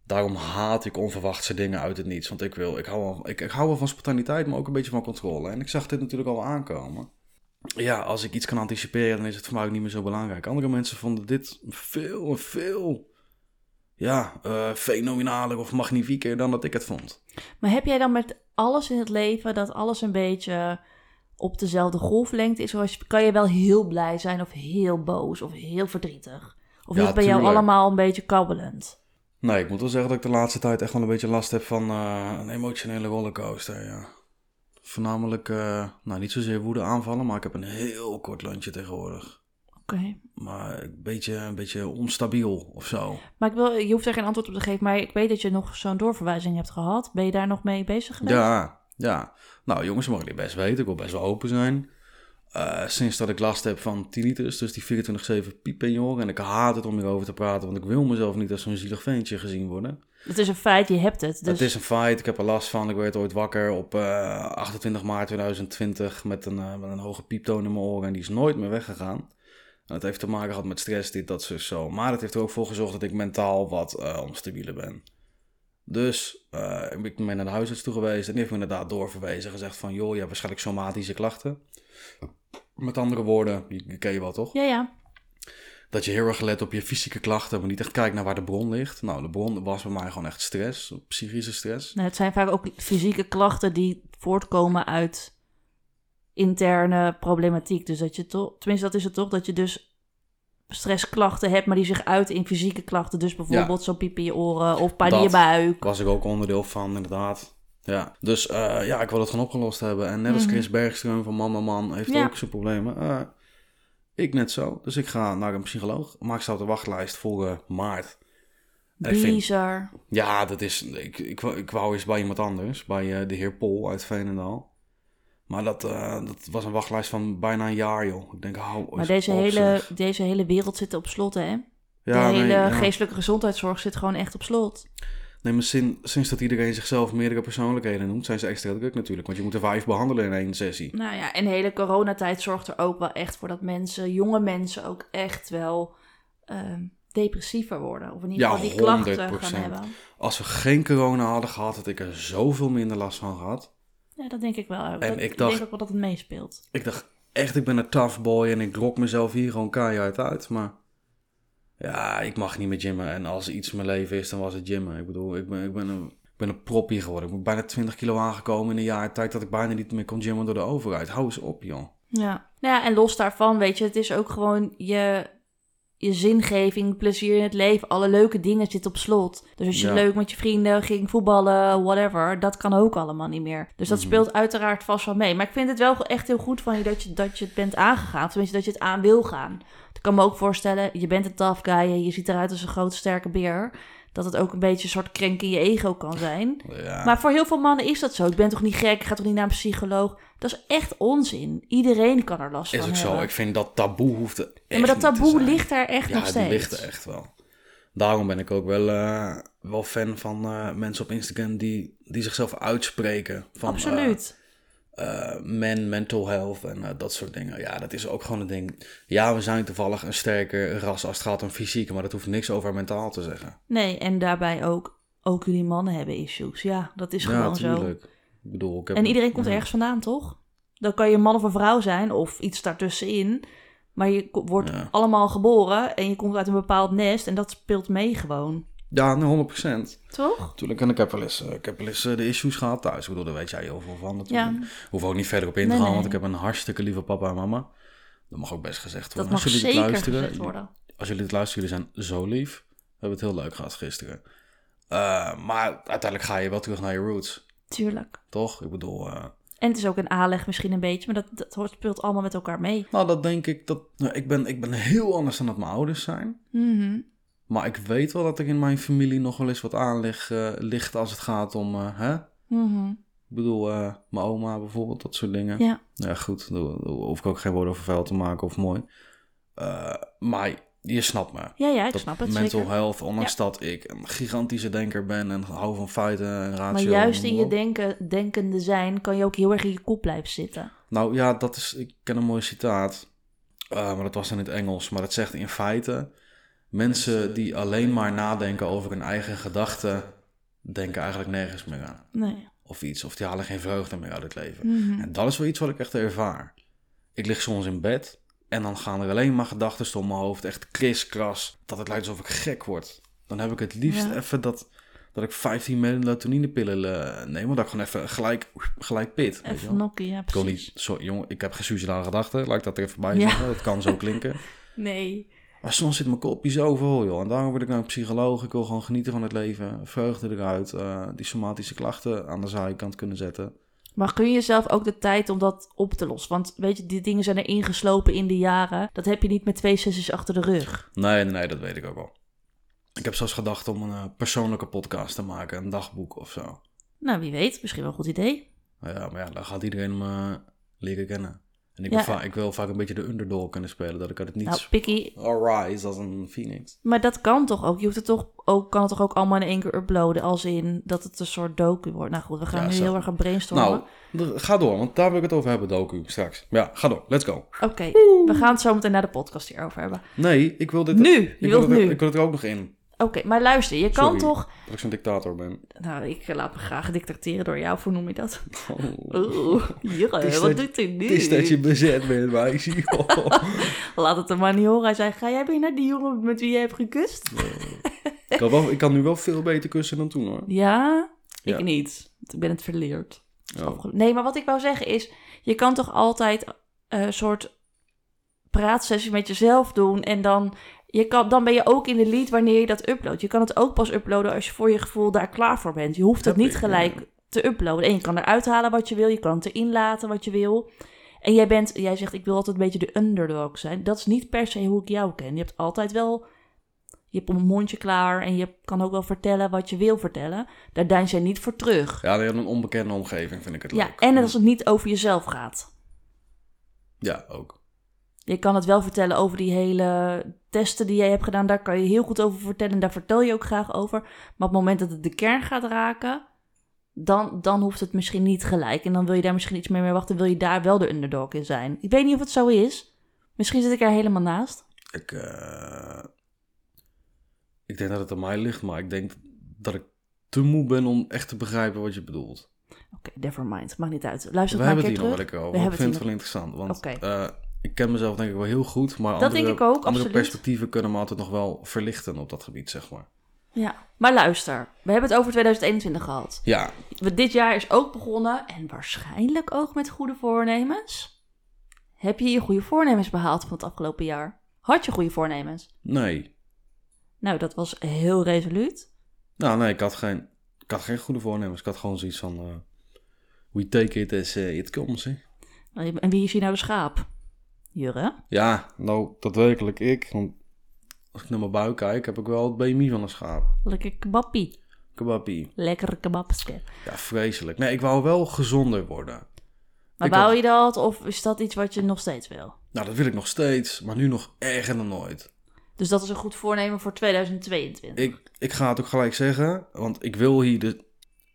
S1: Daarom haat ik onverwachtse dingen uit het niets. Want ik, wil, ik, hou wel, ik, ik hou wel van spontaniteit, maar ook een beetje van controle. En ik zag dit natuurlijk al wel aankomen. Ja, als ik iets kan anticiperen, dan is het voor mij ook niet meer zo belangrijk. Andere mensen vonden dit veel, veel... Ja, eh, fenomenaler of magnifieker dan dat ik het vond.
S2: Maar heb jij dan met alles in het leven dat alles een beetje op dezelfde golflengte is? Zoals, kan je wel heel blij zijn of heel boos of heel verdrietig? Of
S1: Ja,
S2: is het bij jou
S1: tuurlijk.
S2: allemaal een beetje kabbelend?
S1: Nee, ik moet wel zeggen dat ik de laatste tijd echt wel een beetje last heb van eh, een emotionele rollercoaster, ja. Voornamelijk, eh, nou niet zozeer woede aanvallen, maar ik heb een heel kort landje tegenwoordig.
S2: Oké.
S1: Maar een beetje, een beetje onstabiel of zo.
S2: Maar ik wil, je hoeft er geen antwoord op te geven, maar ik weet dat je nog zo'n doorverwijzing hebt gehad. Ben je daar nog mee bezig geweest?
S1: Ja, ja. Nou jongens, ze mogen dit best weten. Ik wil best wel open zijn. Eh, sinds dat ik last heb van tinnitus, dus die 24-7 piep in je oren. En ik haat het om hierover te praten, want ik wil mezelf niet als zo'n zielig ventje gezien worden.
S2: Het is een feit, je hebt het. Dus
S1: Het is een feit, ik heb er last van. Ik werd ooit wakker op eh, 28 maart 2020 met een, eh, met een hoge pieptoon in mijn oren. En die is nooit meer weggegaan. En dat heeft te maken gehad met stress, dit, dat, zus, zo. Maar het heeft er ook voor gezorgd dat ik mentaal wat eh onstabiel ben. Dus eh, ik ben naar de huisarts toe geweest en die heeft me inderdaad doorverwezen. Gezegd van, joh, je hebt waarschijnlijk somatische klachten. Met andere woorden, je, je ken je wel toch?
S2: ja, ja.
S1: dat je heel erg let op je fysieke klachten, maar niet echt kijkt naar waar de bron ligt. Nou, de bron was bij mij gewoon echt stress, psychische stress.
S2: Nou, het zijn vaak ook fysieke klachten die voortkomen uit interne problematiek. Dus dat je toch, tenminste dat is het toch, dat je dus stressklachten hebt, maar die zich uiten in fysieke klachten. Dus bijvoorbeeld zo'n piep in je oren of pijn in je
S1: Dat.
S2: buik.
S1: Was ik ook onderdeel van, inderdaad. Ja, dus eh, ja, ik wil het gewoon opgelost hebben. En net als
S2: Mhm.
S1: Chris Bergström van Mama Man heeft
S2: Ja.
S1: ook zijn problemen. Eh, ik net zo. Dus ik ga naar een psycholoog. Maar ik sta op de wachtlijst voor eh, maart. En ik vind-
S2: Bizar.
S1: Ja, dat is. Ik, ik, wou- ik wou eens bij iemand anders. Bij eh, de heer Pol uit Veenendaal. Maar dat, eh, dat was een wachtlijst van bijna een jaar, joh. Ik denk, hou
S2: Maar
S1: eens
S2: deze
S1: op,
S2: hele,
S1: zeg.
S2: deze hele wereld zit op slot, hè? de
S1: Ja,
S2: hele
S1: nee, ja.
S2: geestelijke gezondheidszorg zit gewoon echt op slot.
S1: Nee, maar sin- sinds dat iedereen zichzelf meerdere persoonlijkheden noemt, zijn ze extra druk natuurlijk. Want je moet er vijf behandelen in één sessie.
S2: Nou ja, en de hele coronatijd zorgt er ook wel echt voor dat mensen, jonge mensen ook echt wel ehm, depressiever worden. Of in ieder
S1: Ja,
S2: geval die klachten gaan
S1: 100%.
S2: hebben.
S1: Als we geen corona hadden gehad, had ik er zoveel minder last van gehad.
S2: Ja, dat denk ik wel. En
S1: ik
S2: ik
S1: dacht-
S2: denk ook wel dat het meespeelt.
S1: Ik dacht echt, ik ben een tough boy en ik rok mezelf hier gewoon keihard uit. Maar ja, ik mag niet meer gymmen. En als er iets in mijn leven is, dan was het gymmen. Ik bedoel, ik ben, ik ben, een, ik ben een proppie geworden. Ik ben bijna 20 kilo aangekomen in een jaar tijd dat ik bijna niet meer kon gymmen door de overheid. Hou eens op, joh.
S2: Ja. Nou ja, en los daarvan, weet je, het is ook gewoon je, je zingeving, plezier in het leven. Alle leuke dingen zitten op slot. Dus als je
S1: Ja.
S2: leuk met je vrienden ging voetballen, whatever, dat kan ook allemaal niet meer. Dus
S1: Mhm.
S2: dat speelt uiteraard vast wel mee. Maar ik vind het wel echt heel goed van je dat je, dat je het bent aangegaan. Tenminste, dat je het aan wil gaan. Ik kan me ook voorstellen, je bent een tough guy, je ziet eruit als een grote sterke beer. Dat het ook een beetje een soort krenk in je ego kan zijn.
S1: Ja.
S2: Maar voor heel veel mannen is dat zo. Ik ben toch niet gek, ik ga toch niet naar een psycholoog. Dat is echt onzin. Iedereen kan er last
S1: is
S2: van
S1: ook
S2: hebben.
S1: zo. Ik vind dat taboe hoeft er echt
S2: ja, maar dat
S1: niet te
S2: taboe
S1: zijn.
S2: ligt daar echt nog
S1: ja,
S2: steeds.
S1: die ligt er echt wel. Daarom ben ik ook wel, eh, wel fan van eh, mensen op Instagram die, die zichzelf uitspreken. Van,
S2: Absoluut.
S1: eh, eh, men, mental health en eh, dat soort dingen. Ja, dat is ook gewoon een ding. Ja, we zijn toevallig een sterker ras als het gaat om fysiek, maar dat hoeft niks over mentaal te zeggen.
S2: Nee, en daarbij ook, ook jullie mannen hebben issues. Ja, dat is
S1: Ja,
S2: gewoon zo.
S1: natuurlijk. Ik bedoel, ik heb Mhm.
S2: En iedereen komt
S1: ja.
S2: ergens vandaan, toch? Dan kan je man of een vrouw zijn of iets daartussenin. Maar je ko- wordt
S1: Ja.
S2: allemaal geboren en je komt uit een bepaald nest en dat speelt mee gewoon.
S1: Ja, nee, 100%.
S2: Toch?
S1: Natuurlijk, en ik heb wel eens, eh, ik heb wel eens eh, de issues gehad thuis. Ik bedoel, daar weet jij heel veel van natuurlijk.
S2: Ja.
S1: Hoef ook niet verder op in te
S2: Nee,
S1: gaan,
S2: nee.
S1: want ik heb een hartstikke lieve papa en mama. Dat mag ook best gezegd
S2: Dat
S1: worden.
S2: mag
S1: als jullie
S2: zeker
S1: dit luisteren,
S2: gezegd worden.
S1: als jullie dit luisteren, jullie zijn zo lief. We hebben het heel leuk gehad gisteren. Eh, maar uiteindelijk ga je wel terug naar je roots,
S2: Tuurlijk.
S1: toch? Ik bedoel, eh,
S2: En het is ook een aanleg misschien een beetje, maar dat, dat hoort- speelt allemaal met elkaar mee.
S1: nou dat denk ik, dat, nou, ik, ben, ik ben heel anders dan dat mijn ouders zijn.
S2: Mhm.
S1: Maar ik weet wel dat er in mijn familie nog wel eens wat aan lig- eh, ligt als het gaat om, eh, hè?
S2: Mhm.
S1: Ik bedoel, eh, mijn oma bijvoorbeeld, dat soort dingen.
S2: Ja.
S1: Nou ja, goed, daar daar hoef ik ook geen woorden over vuil te maken of mooi. Eh, maar je snapt me.
S2: ja, ja, ik
S1: dat
S2: snap het.
S1: mental
S2: zeker.
S1: health, ondanks dat ik een gigantische denker ben en hou van feiten en ratio.
S2: Maar juist
S1: en
S2: in
S1: noem
S2: je
S1: op.
S2: denken, denkende zijn kan je ook heel erg in je kop blijven zitten.
S1: Nou ja, dat is, ik ken een mooi citaat, eh, maar dat was in het Engels. Maar dat zegt in feite, mensen die alleen maar nadenken over hun eigen gedachten, denken eigenlijk nergens meer aan.
S2: Nee.
S1: Of iets, of die halen geen vreugde meer uit het leven.
S2: Mhm.
S1: En dat is wel iets wat ik echt ervaar. Ik lig soms in bed en dan gaan er alleen maar gedachten door mijn hoofd. Echt kriskras. Dat het lijkt alsof ik gek word. Dan heb ik het liefst
S2: Ja.
S1: even dat, dat ik 15 melatoninepillen eh, neem. Maar dat ik gewoon even gelijk, gelijk pit. weet je
S2: Even
S1: wel.
S2: nokken, ja,
S1: Ik wil
S2: precies.
S1: niet, sorry jongen, ik heb geen suicidale gedachten. Laat ik dat er even bij
S2: Ja.
S1: zeggen. Dat kan zo klinken.
S2: Nee.
S1: Maar soms zit mijn kopje zo vol, joh. En daarom word ik nou een psycholoog. Ik wil gewoon genieten van het leven. Vreugde eruit. eh, die somatische klachten aan de zijkant kunnen zetten.
S2: Maar gun jezelf ook de tijd om dat op te lossen? Want weet je, die dingen zijn er ingeslopen in de jaren. Dat heb je niet met twee sessies achter de rug.
S1: Nee, nee, nee, dat weet ik ook wel. Ik heb zelfs gedacht om een eh, persoonlijke podcast te maken, een dagboek of zo.
S2: Nou, wie weet, misschien wel een goed idee.
S1: Ja, maar ja, dan gaat iedereen me leren kennen. En ik,
S2: Ja.
S1: wil va- ik wil vaak een beetje de underdog kunnen spelen, dat ik uit het
S2: Nou,
S1: niets...
S2: Pikkie,
S1: Alright, dat is een phoenix.
S2: maar dat kan toch ook? Je hoeft het toch ook, kan het toch ook allemaal in één keer uploaden? Als in dat het een soort docu wordt. Nou goed, we gaan
S1: Ja,
S2: nu
S1: zo.
S2: heel erg gaan brainstormen.
S1: Nou, d- ga door, want daar wil ik het over hebben, docu, straks. Ja, ga door, let's go.
S2: Oké, we gaan het zo meteen naar de podcast hierover hebben.
S1: Nee, ik wil dit...
S2: Nu, je
S1: ik wil
S2: wilt
S1: het er-
S2: nu.
S1: Ik wil het er ook nog in,
S2: Oké, maar luister, je kan
S1: Sorry.
S2: toch...
S1: dat ik zo'n dictator ben.
S2: Nou, ik laat me graag dicteren door jou, hoe noem je dat?
S1: Oh.
S2: Oeh, Jure,
S1: is dat-
S2: wat doet hij nu?
S1: Het is dat je bezet bent, maar ik zie...
S2: Laat het hem maar niet horen. Hij zei, ga jij weer naar die jongen met wie je hebt gekust?
S1: ik, kan wel, ik kan nu wel veel beter kussen dan toen, hoor.
S2: Ja, ik
S1: Ja.
S2: niet. Want Ik ben het verleerd.
S1: Oh.
S2: Nee, maar wat ik wou zeggen is, je kan toch altijd eh, een soort praatsessie met jezelf doen en dan, je kan, dan ben je ook in de lead wanneer je dat uploadt. Je kan het ook pas uploaden als je voor je gevoel daar klaar voor bent. Je hoeft het
S1: Dat
S2: niet
S1: ik,
S2: gelijk
S1: ja.
S2: te uploaden. En je kan eruit halen wat je wil, je kan het erin laten wat je wil. En jij, bent, jij zegt, ik wil altijd een beetje de underdog zijn. Dat is niet per se hoe ik jou ken. Je hebt altijd wel Je hebt een mondje klaar en je kan ook wel vertellen wat je wil vertellen. Daar deins jij niet voor terug.
S1: Ja, in een onbekende omgeving vind ik het
S2: Ja,
S1: leuk.
S2: en als het niet over jezelf gaat.
S1: Ja, ook.
S2: Je kan het wel vertellen over die hele testen die jij hebt gedaan. Daar kan je heel goed over vertellen. Daar vertel je ook graag over. Maar op het moment dat het de kern gaat raken, dan, dan hoeft het misschien niet gelijk. En dan wil je daar misschien iets meer mee wachten. Wil je daar wel de underdog in zijn? Ik weet niet of het zo is. Misschien zit ik er helemaal naast.
S1: Ik, eh, ik denk dat het aan mij ligt, maar ik denk dat ik te moe ben om echt te begrijpen wat je bedoelt.
S2: Oké, never mind. Maakt niet uit. Luister
S1: We
S2: het maar
S1: hebben
S2: een
S1: het
S2: keer
S1: hier nog
S2: terug.
S1: wel lekker
S2: We
S1: over. Ik
S2: hebben
S1: vind
S2: het
S1: het wel interessant, want
S2: Oké.
S1: eh, ik ken mezelf denk ik wel heel goed, maar
S2: Dat
S1: andere,
S2: denk ik ook,
S1: andere
S2: absoluut.
S1: perspectieven kunnen me altijd nog wel verlichten op dat gebied, zeg maar.
S2: Ja, maar luister. We hebben het over 2021 gehad.
S1: Ja,
S2: We- Dit jaar is ook begonnen en waarschijnlijk ook met goede voornemens. Heb je je goede voornemens behaald van het afgelopen jaar? Had je goede voornemens?
S1: nee.
S2: Nou, dat was heel resoluut.
S1: Nou, nee, ik had geen, ik had geen goede voornemens. Ik had gewoon zoiets van, eh, we take it as eh, it comes, hè.
S2: En wie is hier nou de schaap? Jurre?
S1: Ja, nou, daadwerkelijk ik. Want als ik naar mijn buik kijk, heb ik wel het BMI van een schaap.
S2: Lekker kebappie.
S1: Kebappie.
S2: Lekker kebabske.
S1: Ja, vreselijk. Nee, ik wou wel gezonder worden.
S2: Maar
S1: Ik
S2: wou
S1: had-
S2: je dat of is dat iets wat je nog steeds wil?
S1: Nou, dat wil ik nog steeds, maar nu nog erger dan ooit.
S2: Dus dat is een goed voornemen voor 2022.
S1: Ik, ik ga het ook gelijk zeggen, want ik wil hier de...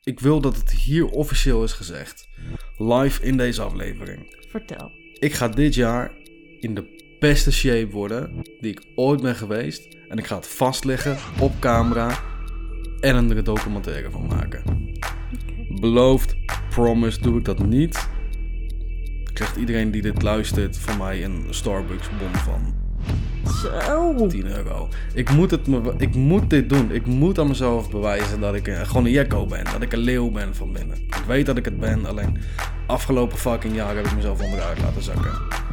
S1: Ik wil dat het hier officieel is gezegd. Live in deze aflevering.
S2: Vertel.
S1: Ik ga dit jaar in de beste shape worden die ik ooit ben geweest. En ik ga het vastleggen op camera en er een documentaire van maken. Beloofd, promise, doe ik dat niet. Krijgt iedereen die dit luistert van mij een Starbucks bon van
S2: Zo.
S1: 10 euro. Ik moet, het me, ik moet dit doen. Ik moet aan mezelf bewijzen dat ik een, gewoon een jekko ben. Dat ik een leeuw ben van binnen. Ik weet dat ik het ben, alleen afgelopen fucking jaar heb ik mezelf onderuit laten zakken.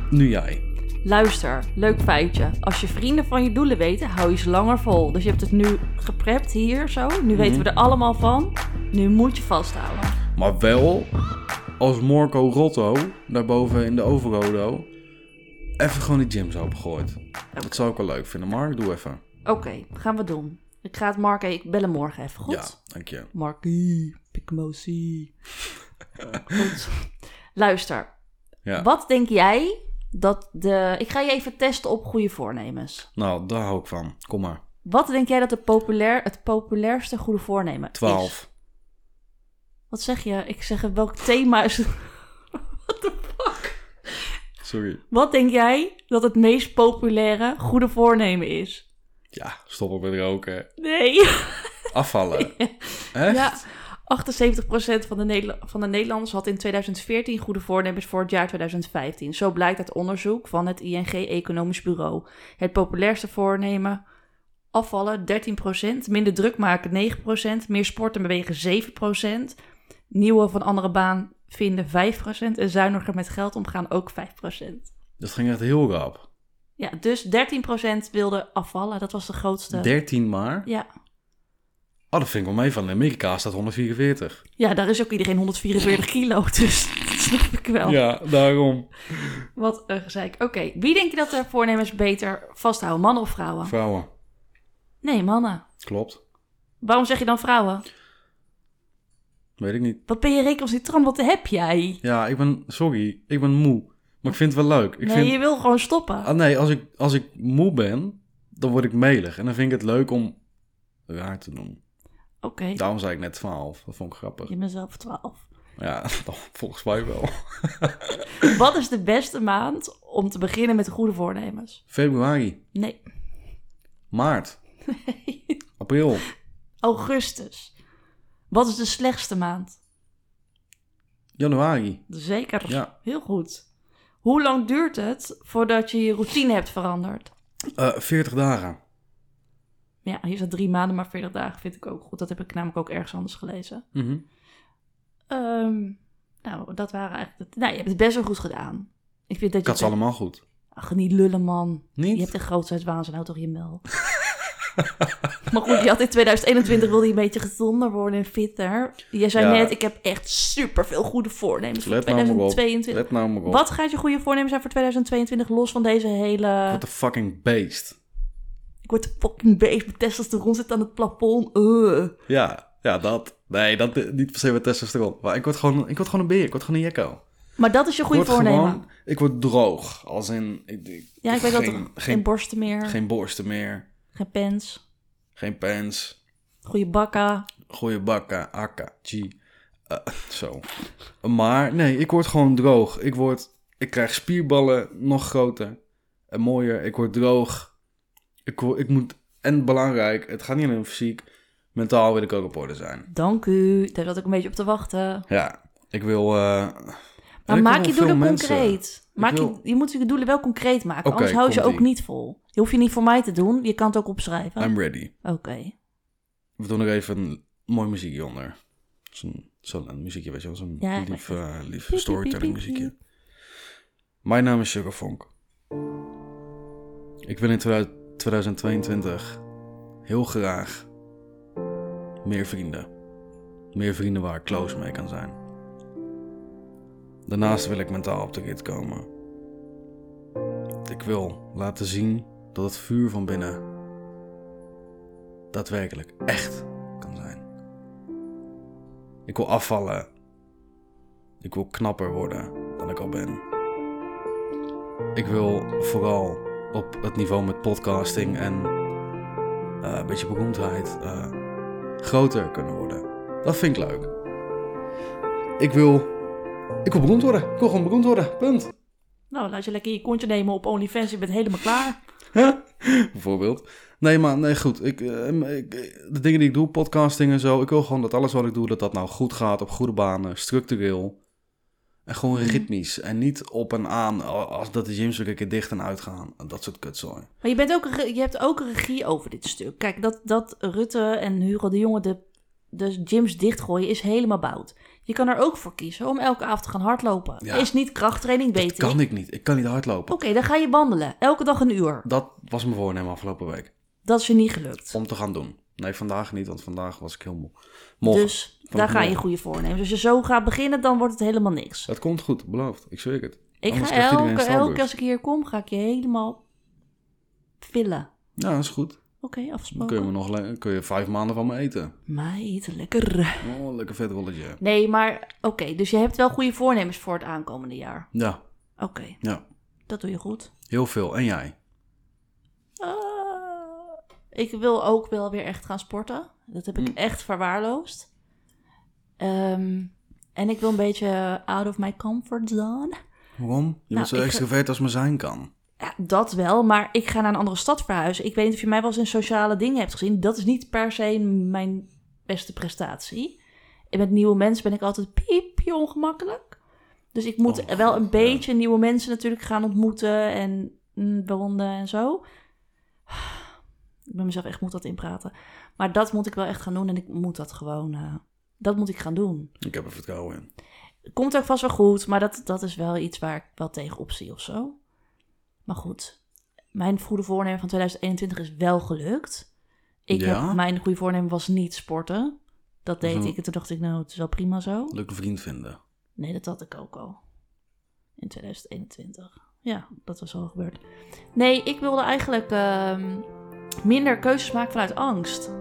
S1: Nu jij.
S2: Luister, leuk feitje. Als je vrienden van je doelen weten, hou je ze langer vol. Dus je hebt het nu geprept hier zo.
S1: Mhm.
S2: Nu weten we er allemaal van. Nu moet je vasthouden.
S1: Maar wel als Morco Rotto daarboven in de Overrodo even gewoon die gyms opengooit. Dat zou ik wel leuk vinden. Mark, doe even.
S2: Oké, gaan we doen. Ik ga het Mark, ik bel hem morgen even, goed?
S1: Ja, dank je.
S2: Markie, Pikmosi. Goed. Luister,
S1: Ja.
S2: wat denk jij dat de... Ik ga je even testen op goede voornemens.
S1: Nou, daar hou ik van. Kom maar.
S2: Wat denk jij dat de populair, het populairste goede voornemen is?
S1: 12.
S2: Wat zeg je? Ik zeg welk thema is... What the fuck?
S1: Sorry.
S2: Wat denk jij dat het meest populaire goede voornemen is?
S1: Ja, stoppen met roken.
S2: Nee.
S1: Afvallen. Echt?
S2: Ja. 78% van de, Nederla- van de Nederlanders had in 2014 goede voornemens voor het jaar 2015. Zo blijkt uit onderzoek van het ING Economisch Bureau. Het populairste voornemen: afvallen 13%, minder druk maken 9%, meer sporten bewegen 7%, nieuwe van andere baan vinden 5% en zuiniger met geld omgaan ook 5%.
S1: Dat ging echt heel rap.
S2: Ja, dus 13% wilde afvallen. Dat was de grootste.
S1: 13 maar.
S2: ja.
S1: Oh, dat vind ik wel mee. Van in Amerika staat 144.
S2: ja, daar is ook iedereen 144 kilo, dus dat snap ik wel.
S1: Ja, daarom.
S2: Oh. Wat een gezeik. Oké, wie denk je dat de voornemens beter vasthouden? Mannen of vrouwen?
S1: Vrouwen.
S2: Nee, mannen.
S1: Klopt.
S2: Waarom zeg je dan vrouwen?
S1: Weet ik niet.
S2: Wat ben je recalcitrant? Wat heb jij?
S1: Ja, ik ben... Sorry. Ik ben moe. Maar ik vind het wel leuk. Ik
S2: nee,
S1: vind...
S2: je wil gewoon stoppen.
S1: Ah, nee, als ik, als ik moe ben, dan word ik melig. En dan vind ik het leuk om raar te doen.
S2: Oké,
S1: Daarom zei ik net 12. Dat vond ik grappig.
S2: je bent zelf 12.
S1: Ja, volgens mij wel.
S2: Wat is de beste maand om te beginnen met goede voornemens?
S1: Februari,
S2: Nee,
S1: maart, april,
S2: augustus. Wat is de slechtste maand?
S1: januari.
S2: Zeker.
S1: Ja.
S2: Heel goed. Hoe lang duurt het voordat je je routine hebt veranderd?
S1: Eh 40 dagen.
S2: Ja, hier staat drie maanden, maar 40 dagen vind ik ook goed. Dat heb ik namelijk ook ergens anders gelezen.
S1: Mhm.
S2: Ehm, nou, dat waren eigenlijk... De... Nou, je hebt het best wel goed gedaan. Ik vind dat
S1: Ik
S2: je...
S1: had ze allemaal goed.
S2: Ach, niet lullen, man.
S1: Niet?
S2: Je hebt een grootheidswaanzin, houd Nou, toch je mel. maar goed, je had in 2021 wilde je een beetje gezonder worden en fitter. Jij zei
S1: Ja.
S2: net, ik heb echt superveel goede voornemens voor
S1: Let nou maar op.
S2: 2022.
S1: Let nou maar op.
S2: Wat gaat je goede voornemen zijn voor 2022, los van deze hele...
S1: Wat een fucking beest.
S2: Ik Ik word een fucking beest. Mijn testosteron zit aan het plafond. Ugh.
S1: Ja, ja, dat. Nee, dat i- niet per se met testosteron. Maar ik word gewoon, ik word gewoon een beer. Ik word gewoon een jekko.
S2: Maar dat is je
S1: Ik
S2: goede
S1: word
S2: voornemen.
S1: gewoon... Ik word droog. Als in... Ik, ik-
S2: ja, ik weet dat. er-
S1: geen,
S2: Geen,
S1: Geen,
S2: borsten meer. Geen,
S1: geen borsten meer.
S2: pens.
S1: Geen pens.
S2: Goede bakka.
S1: Goeie bakken. Akka. G. Eh, zo. Maar nee, ik word gewoon droog. Ik word... Ik krijg spierballen nog groter. En mooier. Ik word droog. Ik, wo- ik moet... En belangrijk, het gaat niet alleen om fysiek. Mentaal wil ik ook op orde zijn.
S2: Dank u. Daar zat ik een beetje op te wachten.
S1: Ja, ik wil. eh,
S2: Maar
S1: ik
S2: maak
S1: wil
S2: je
S1: veel
S2: doelen
S1: mensen.
S2: concreet. Maak
S1: wil-
S2: je, je moet je doelen wel concreet maken.
S1: Oké,
S2: anders hou je ze
S1: komt
S2: ook
S1: ie.
S2: niet vol. Je hoeft je niet voor mij te doen. Je kan het ook opschrijven.
S1: I'm ready.
S2: Oké.
S1: We doen er even een mooi muziekje onder. Zo'n zo'n muziekje, weet je wel. Zo'n
S2: Ja, ik
S1: lief,
S2: weet
S1: eh, lief
S2: piep,
S1: storytelling
S2: piep, piep,
S1: muziekje. Mijn naam is Sugar Funk. Ik wil in 2000 2022 heel graag meer vrienden. Meer vrienden waar ik close mee kan zijn. Daarnaast wil ik mentaal op de rit komen. Ik wil laten zien dat het vuur van binnen daadwerkelijk echt kan zijn. Ik wil afvallen. Ik wil knapper worden dan ik al ben. Ik wil vooral op het niveau met podcasting en eh, een beetje beroemdheid eh, groter kunnen worden. Dat vind ik leuk. Ik wil, ik wil beroemd worden. Ik wil gewoon beroemd worden. Punt.
S2: Nou, laat je lekker je kontje nemen op OnlyFans. Je bent helemaal klaar.
S1: Bijvoorbeeld. Nee, maar nee, goed. Ik, eh, ik- de dingen die ik doe, podcasting en zo. Ik wil gewoon dat alles wat ik doe, dat dat nou goed gaat. Op goede banen, structureel. En gewoon
S2: Mhm.
S1: ritmisch. En niet op en aan. Als dat de gyms weer een keer dicht en uitgaan. Dat soort kutzooi.
S2: Maar je, bent ook, een re- je hebt ook een regie over dit stuk. Kijk, dat, dat Rutte en Hugo de Jonge de, de gyms dichtgooien is helemaal bout. Je kan er ook voor kiezen om elke avond te gaan hardlopen.
S1: Ja.
S2: Is niet krachttraining, weet
S1: Dat
S2: ik.
S1: kan ik niet. Ik kan niet hardlopen.
S2: Oké, dan ga je wandelen. Elke dag een uur.
S1: Dat was mijn voornemen afgelopen week.
S2: Dat is je niet gelukt.
S1: Om te gaan doen. Nee, vandaag niet, want vandaag was ik heel moe. Morgen.
S2: Dus daar ga je
S1: morgen.
S2: goede voornemens. Als je zo gaat beginnen, dan wordt het helemaal niks.
S1: Dat komt goed, beloofd. Ik zweer het.
S2: Ik
S1: Anders
S2: ga
S1: krijgt iedereen
S2: elke,
S1: een standbeurt.
S2: elke keer als ik hier kom, ga ik je helemaal vullen.
S1: Ja, dat is goed.
S2: Oké,
S1: Dan kun
S2: afgesproken.
S1: je, me nog, le- kun je vijf maanden van me eten.
S2: Meid, lekker.
S1: Oh, lekker vet rolletje.
S2: Nee, maar oké, dus je hebt wel goede voornemens voor het aankomende jaar.
S1: Ja,
S2: Oké,
S1: ja.
S2: dat doe je goed.
S1: Heel veel. En jij?
S2: Ah, ik wil ook wel weer echt gaan sporten. Dat heb ik echt verwaarloosd. Ehm, en ik wil een beetje out of my comfort zone.
S1: Waarom? Je bent zo
S2: Nou, ik-
S1: extravert als maar zijn kan.
S2: Ja, dat wel, maar ik ga naar een andere stad verhuizen. Ik weet niet of je mij wel eens in sociale dingen hebt gezien. Dat is niet per se mijn beste prestatie. En met nieuwe mensen ben ik altijd piepje ongemakkelijk. Dus ik moet
S1: Oh,
S2: wel een
S1: God,
S2: beetje nieuwe mensen natuurlijk gaan ontmoeten en mm, bewonderen en zo. Ik ben mezelf echt moet dat inpraten. Maar dat moet ik wel echt gaan doen en ik moet dat gewoon... eh, dat moet ik gaan doen.
S1: Ik heb er vertrouwen in.
S2: Komt ook vast wel goed, maar dat, dat is wel iets waar ik wel tegenop zie of zo. Maar goed, mijn goede voornemen van 2021 is wel gelukt. Ik
S1: Ja?
S2: heb, mijn goede voornemen was niet sporten. Dat deed
S1: Mhm.
S2: ik en toen dacht ik, nou, het is wel prima zo.
S1: Leuke vriend vinden.
S2: Nee, dat had ik ook al. In 2021. Ja, dat was al gebeurd. Nee, ik wilde eigenlijk ehm, minder keuzes maken vanuit angst.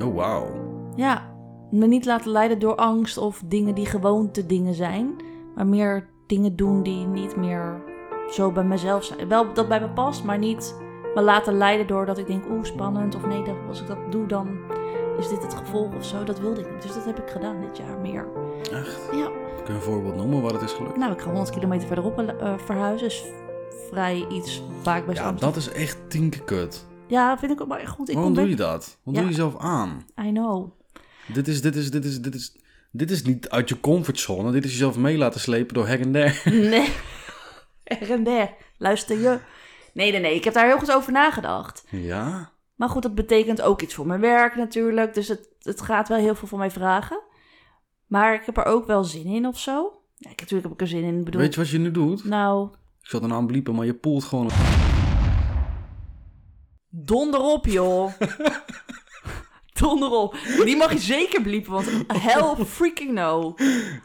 S1: Oh, wauw.
S2: Ja, me niet laten leiden door angst of dingen die gewoonte dingen zijn. Maar meer dingen doen die niet meer zo bij mezelf zijn. Wel dat bij me past, maar niet me laten leiden door dat ik denk, oeh, spannend. Of nee, dat, als ik dat doe, dan is dit het gevolg of zo. Dat wilde ik niet. Dus dat heb ik gedaan dit jaar meer.
S1: Echt?
S2: Ja,
S1: Kun je een voorbeeld noemen waar het is gelukt?
S2: nou, ik ga 100 kilometer verderop eh, verhuizen. Is vrij iets waar ik best
S1: Ja,
S2: aan-
S1: dat is echt tien keer kut.
S2: Ja, vind ik ook maar echt goed. Ik
S1: Waarom
S2: kom
S1: doe
S2: weg.
S1: je dat? Waarom doe
S2: Ja.
S1: je jezelf aan?
S2: I know.
S1: Dit is, dit is, dit is, dit is... Dit is niet uit je comfortzone. Dit is jezelf mee laten slepen door her en der.
S2: Nee. Er en der. Luister je. Nee, nee, nee. Ik heb daar heel goed over nagedacht.
S1: Ja?
S2: Maar goed, dat betekent ook iets voor mijn werk natuurlijk. Dus het, het gaat wel heel veel van mij vragen. Maar ik heb er ook wel zin in of zo. Ja, ik, natuurlijk heb ik er zin in. Ik bedoel,
S1: Weet je wat je nu doet?
S2: nou,
S1: Ik zat een aan bliepen, maar je poelt gewoon... een-
S2: donder op, joh. donder op. Die mag je zeker bliepen, want hell freaking no.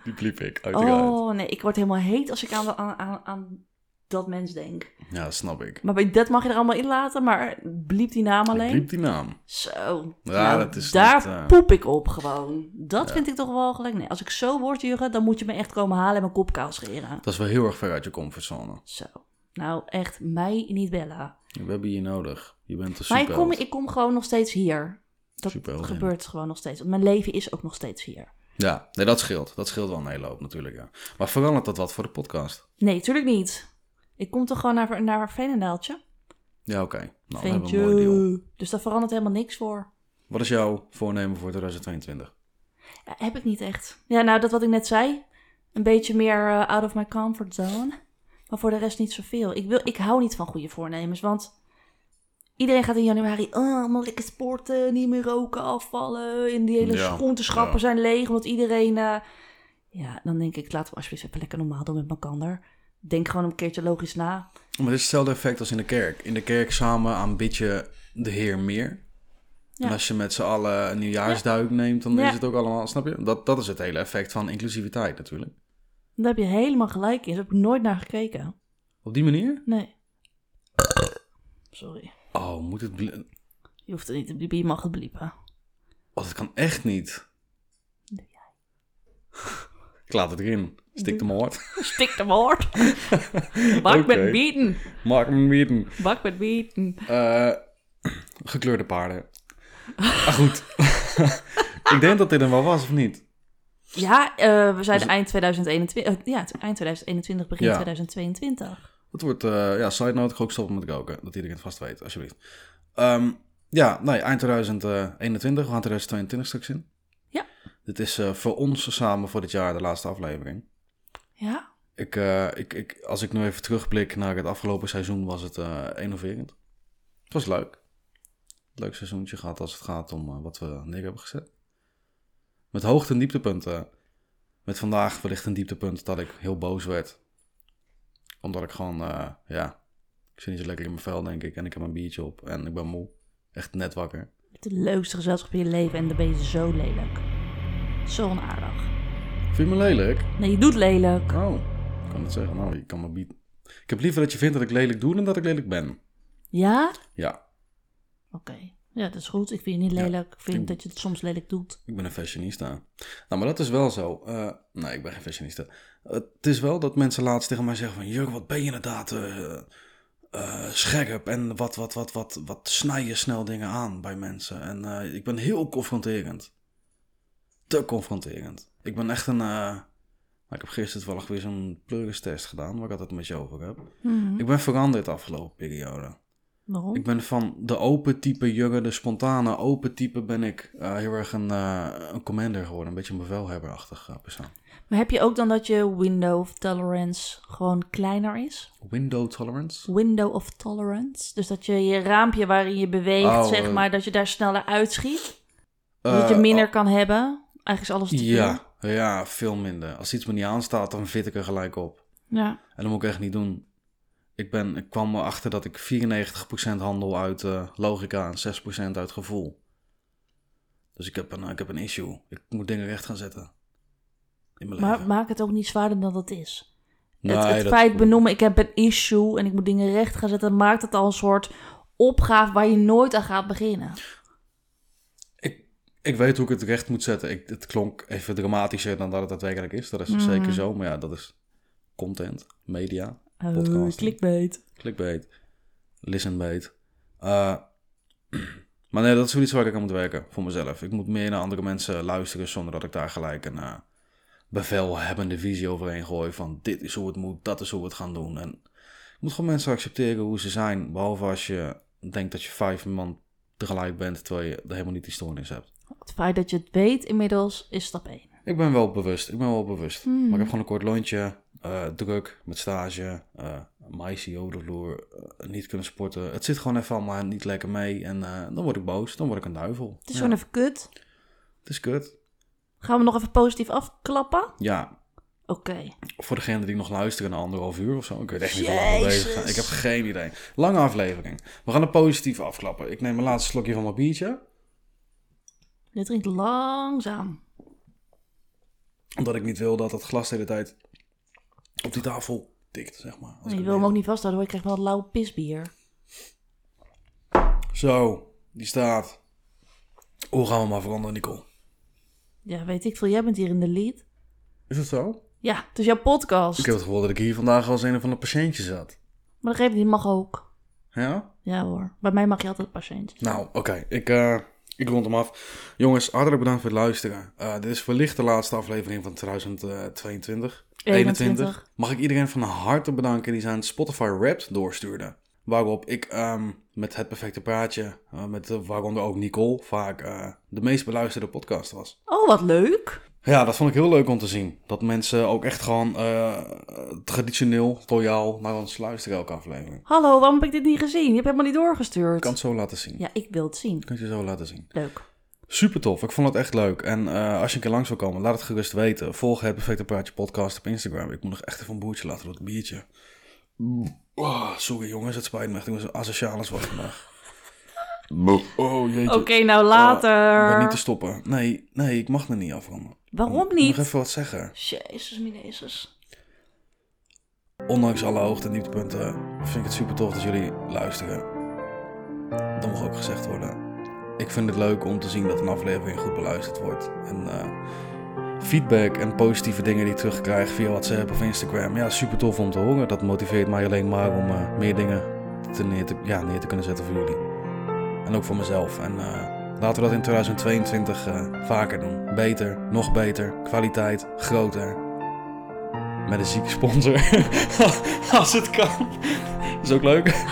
S1: Die bliep ik,
S2: Oh, nee. Ik word helemaal heet als ik aan, de- aan, aan, aan dat mens denk.
S1: Ja, dat snap ik.
S2: Maar bij dat mag je er allemaal in laten, maar bliep die naam alleen.
S1: Ik liep die naam.
S2: Zo.
S1: Ja,
S2: Nou,
S1: dat is
S2: daar
S1: niet, eh,
S2: poep ik op gewoon. Dat vind ik toch wel gelijk. Nee, als ik zo word, Jurgen, dan moet je me echt komen halen en mijn kop kaal scheren.
S1: Dat is wel heel erg ver uit je comfortzone.
S2: Zo. Nou, echt, mij niet bellen.
S1: We hebben je nodig. Je bent een
S2: Maar ik
S1: superheld.
S2: kom, ik kom gewoon nog steeds hier. Dat
S1: Superheld, ja.
S2: gebeurt gewoon nog steeds. Want mijn leven is ook nog steeds hier.
S1: Ja, nee, dat scheelt. Dat scheelt wel een hele hoop natuurlijk, ja. Maar verandert dat wat voor de podcast?
S2: Nee, tuurlijk niet. Ik kom toch gewoon naar, naar Veenendaaltje?
S1: Ja, oké. Nou, dan Oh, hebben we een mooi deal.
S2: Veentje. Dus daar verandert helemaal niks voor.
S1: Wat is jouw voornemen voor 2022?
S2: Ja, heb ik niet echt. Ja, nou, dat wat ik net zei. Een beetje meer eh, out of my comfort zone. Maar voor de rest niet zoveel. Ik, wil, ik hou niet van goede voornemens, want iedereen gaat in januari... Oh, allemaal lekker sporten, niet meer roken, afvallen. En die hele
S1: Ja,
S2: groenteschappen
S1: ja.
S2: zijn leeg, omdat iedereen... eh, ja, dan denk ik, laten we alsjeblieft even lekker normaal doen met elkaar. Denk gewoon een keertje logisch na.
S1: Maar het is hetzelfde effect als in de kerk. In de kerk samen aanbid je de Heer meer.
S2: Ja.
S1: En als je met z'n allen een nieuwjaarsduik neemt, dan
S2: Ja.
S1: is het ook allemaal, snap je? Dat, dat is het hele effect van inclusiviteit natuurlijk.
S2: Daar heb je helemaal gelijk in. Daar heb ik nooit naar gekeken.
S1: Op die manier?
S2: Nee. Sorry.
S1: Oh, moet het... bl-
S2: Je hoeft het niet te bliepen, je mag het bliepen.
S1: Oh, dat kan echt niet. Ik laat het erin. Stik de moord.
S2: Stik de woord. Bak
S1: Oké.
S2: met bieten.
S1: Mark Meaton.
S2: Bak met bieten.
S1: Eh, gekleurde paarden. Maar goed. ik denk dat dit hem wel was, of niet?
S2: Ja, eh, we zijn
S1: Dus-
S2: eind 2021. eh, ja, het- eind 2021, begin
S1: Ja.
S2: 2022.
S1: Dat wordt, eh, ja, side note, ik ga ook stoppen met roken. Dat iedereen het vast weet, alsjeblieft. Ehm, ja, nee, eind 2021. We gaan 2022 straks in.
S2: Ja.
S1: Dit is eh, voor ons samen voor dit jaar de laatste aflevering.
S2: Ja,
S1: Ik, eh, ik, ik, als ik nu even terugblik naar het afgelopen seizoen, was het eh innoverend. Het was leuk. Leuk seizoentje gehad als het gaat om eh, wat we neer hebben gezet. Met hoogte- en dieptepunten. Met vandaag wellicht een dieptepunt dat ik heel boos werd. Omdat ik gewoon, eh, ja, ik zit niet zo lekker in mijn vel, denk ik. En ik heb een biertje op en ik ben moe. Echt net wakker.
S2: het leukste gezelschap in je leven en dan ben je zo lelijk. Zo onaardig.
S1: Vind je me lelijk?
S2: Nee, je doet lelijk.
S1: Oh, ik kan het zeggen. Nou, je kan me bieden. Ik heb liever dat je vindt dat ik lelijk doe dan dat ik lelijk ben.
S2: Ja?
S1: Ja,
S2: Oké. Ja, dat is goed. Ik vind je niet
S1: Ja.
S2: lelijk. Ik vind
S1: Ik-
S2: dat je het soms lelijk doet.
S1: Ik ben een fashionista. Nou, maar dat is wel zo. Eh, nee, ik ben geen fashionista. Het is wel dat mensen laatst tegen mij zeggen van... Jurk, wat ben je inderdaad eh, eh, scherp en wat, wat, wat, wat, wat snij je snel dingen aan bij mensen. En eh, ik ben heel confronterend. Te confronterend. Ik ben echt een... eh, nou, ik heb gisteren toevallig weer zo'n pleuristest gedaan, waar ik altijd met je over heb.
S2: Mhm.
S1: Ik ben veranderd de afgelopen periode.
S2: Waarom?
S1: Ik ben van de open type jugger, de spontane open type ben ik eh, heel erg een, eh, een commander geworden. Een beetje een bevelhebberachtig eh, persoon.
S2: Maar heb je ook dan dat je window of tolerance gewoon kleiner is?
S1: Window tolerance?
S2: window of tolerance. Dus dat je je raampje waarin je beweegt,
S1: Oh,
S2: zeg
S1: eh.
S2: maar, dat je daar sneller uitschiet. dat
S1: Eh,
S2: je minder
S1: oh,
S2: kan hebben. Eigenlijk is alles te veel.
S1: ja, ja, veel minder. Als iets me niet aanstaat, dan vit ik er gelijk op.
S2: Ja.
S1: En dat moet ik echt niet doen. Ik, ben, ik kwam erachter dat ik 94% handel uit eh, logica en 6% uit gevoel. Dus ik heb een, ik heb een issue. Ik moet dingen recht gaan zetten. In mijn
S2: Maar
S1: leven.
S2: maak het ook niet zwaarder dan dat is. het
S1: Nee,
S2: het
S1: dat-
S2: feit benoemen, ik heb een issue en ik moet dingen recht gaan zetten, maakt het al een soort opgave waar je nooit aan gaat beginnen.
S1: Ik, ik weet hoe ik het recht moet zetten. Ik, het klonk even dramatischer dan dat het daadwerkelijk is. Dat is dus
S2: Mhm.
S1: zeker zo. Maar ja, dat is content, media,
S2: Oh,
S1: Podcasting.
S2: clickbait.
S1: clickbait, listenbait. Eh, maar nee, dat is zoiets waar ik aan moet werken voor mezelf. Ik moet meer naar andere mensen luisteren zonder dat ik daar gelijk een eh, bevelhebbende visie overheen gooi. Van dit is hoe het moet, dat is hoe we het gaan doen. En ik moet gewoon mensen accepteren hoe ze zijn. Behalve als je denkt dat je vijf man tegelijk bent terwijl je er helemaal niet die stoornis hebt.
S2: Het feit dat je het weet inmiddels is stap 1.
S1: Ik ben wel bewust, ik ben wel bewust.
S2: Hmm.
S1: Maar ik heb gewoon een kort lontje, eh, druk met stage, eh maïsie over de vloer, eh, niet kunnen sporten. Het zit gewoon even allemaal niet lekker mee en eh, dan word ik boos, dan word ik een duivel.
S2: Het is
S1: ja.
S2: gewoon even kut.
S1: Het is kut.
S2: Gaan we nog even positief afklappen? Oké.
S1: Ja, voor degenen die nog luisteren na anderhalf uur of zo, ik weet echt niet hoe lang we
S2: Jezus.
S1: bezig zijn. Ik heb geen idee. Lange aflevering. We gaan er positief afklappen. Ik neem mijn laatste slokje van mijn biertje,
S2: Dit drinkt langzaam.
S1: omdat ik niet wil dat het glas de hele tijd op die tafel tikt, zeg maar. Als ik
S2: Je
S1: hem
S2: wil hem
S1: neem.
S2: ook niet vasthouden hoor, je krijgt wel lauw pisbier.
S1: Zo, die staat. Hoe gaan we maar veranderen, Nicole?
S2: Ja, weet ik veel. Jij bent hier in de lead.
S1: Is dat zo?
S2: Ja, het is jouw podcast.
S1: Ik heb het gevoel dat ik hier vandaag als een van de patiëntjes zat.
S2: Maar dat geeft niet, mag ook.
S1: Ja?
S2: Ja hoor, bij mij mag je altijd patiënt.
S1: Nou, oké. Ik, eh, ik rond hem af. Jongens, hartelijk bedankt voor het luisteren. Eh, dit is wellicht de laatste aflevering van 2022. 21. Mag ik iedereen van harte bedanken die zijn Spotify Wrapped doorstuurde. Waarop ik ehm, met het perfecte praatje, eh, met, eh, waaronder ook Nicole, vaak eh, de meest beluisterde podcast was.
S2: Oh, wat leuk.
S1: Ja, dat vond ik heel leuk om te zien. Dat mensen ook echt gewoon eh, traditioneel, loyaal naar ons luisteren elke aflevering.
S2: Hallo, waarom heb ik dit niet gezien? Je hebt helemaal niet doorgestuurd.
S1: Ik kan het zo laten zien.
S2: Ja, ik wil het zien.
S1: Kun je zo laten zien.
S2: Leuk.
S1: Super tof, ik vond het echt leuk. En eh, als je een keer langs wil komen, laat het gerust weten. Volg het Perfecte Praatje podcast op Instagram. Ik moet nog echt even een boertje laten door het biertje. Oh, sorry jongens, het spijt me echt. Ik ben zo asociaal als wat vandaag. Oh jeetje.
S2: Oké, nou
S1: Ik
S2: later.
S1: ben niet te stoppen. Nee, nee, ik mag er niet afronden.
S2: Waarom
S1: Ik moet Nog
S2: niet?
S1: even wat zeggen.
S2: Jezus, minezus.
S1: Ondanks alle hoogte en dieptepunten vind ik het super tof dat jullie luisteren. Dat mag ook gezegd worden. Ik vind het leuk om te zien dat een aflevering goed beluisterd wordt. En eh, feedback en positieve dingen die ik terugkrijg via WhatsApp of Instagram. Ja, super tof om te horen. Dat motiveert mij alleen maar om eh, meer dingen te neer, te, ja, neer te kunnen zetten voor jullie. En ook voor mezelf. En eh, laten we dat in 2022 eh, vaker doen. Beter, nog beter, kwaliteit, groter. Met een zieke sponsor. Als het kan. Is ook leuk.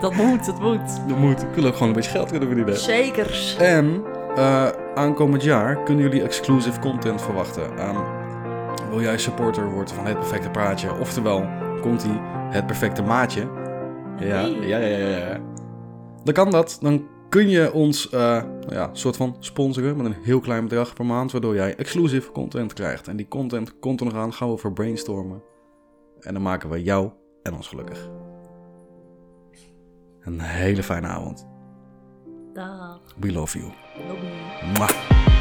S2: Dat moet, dat moet.
S1: Dat moet. Ik wil ook gewoon een beetje geld kunnen verdienen.
S2: Zekers.
S1: En eh, aankomend jaar kunnen jullie exclusive content verwachten. Ehm, wil jij supporter worden van Het Perfecte Praatje? Oftewel, komt ie Het Perfecte Maatje? Ja,
S2: Hey.
S1: ja, ja, ja, ja, ja. Dan kan dat. Dan kun je ons eh, nou ja, soort van sponsoren met een heel klein bedrag per maand. Waardoor jij exclusive content krijgt. En die content komt er nog aan. Gaan we voor brainstormen. En dan maken we jou en ons gelukkig. Een hele fijne avond.
S2: Dag.
S1: We love you.
S2: Lobby.
S1: Mwah.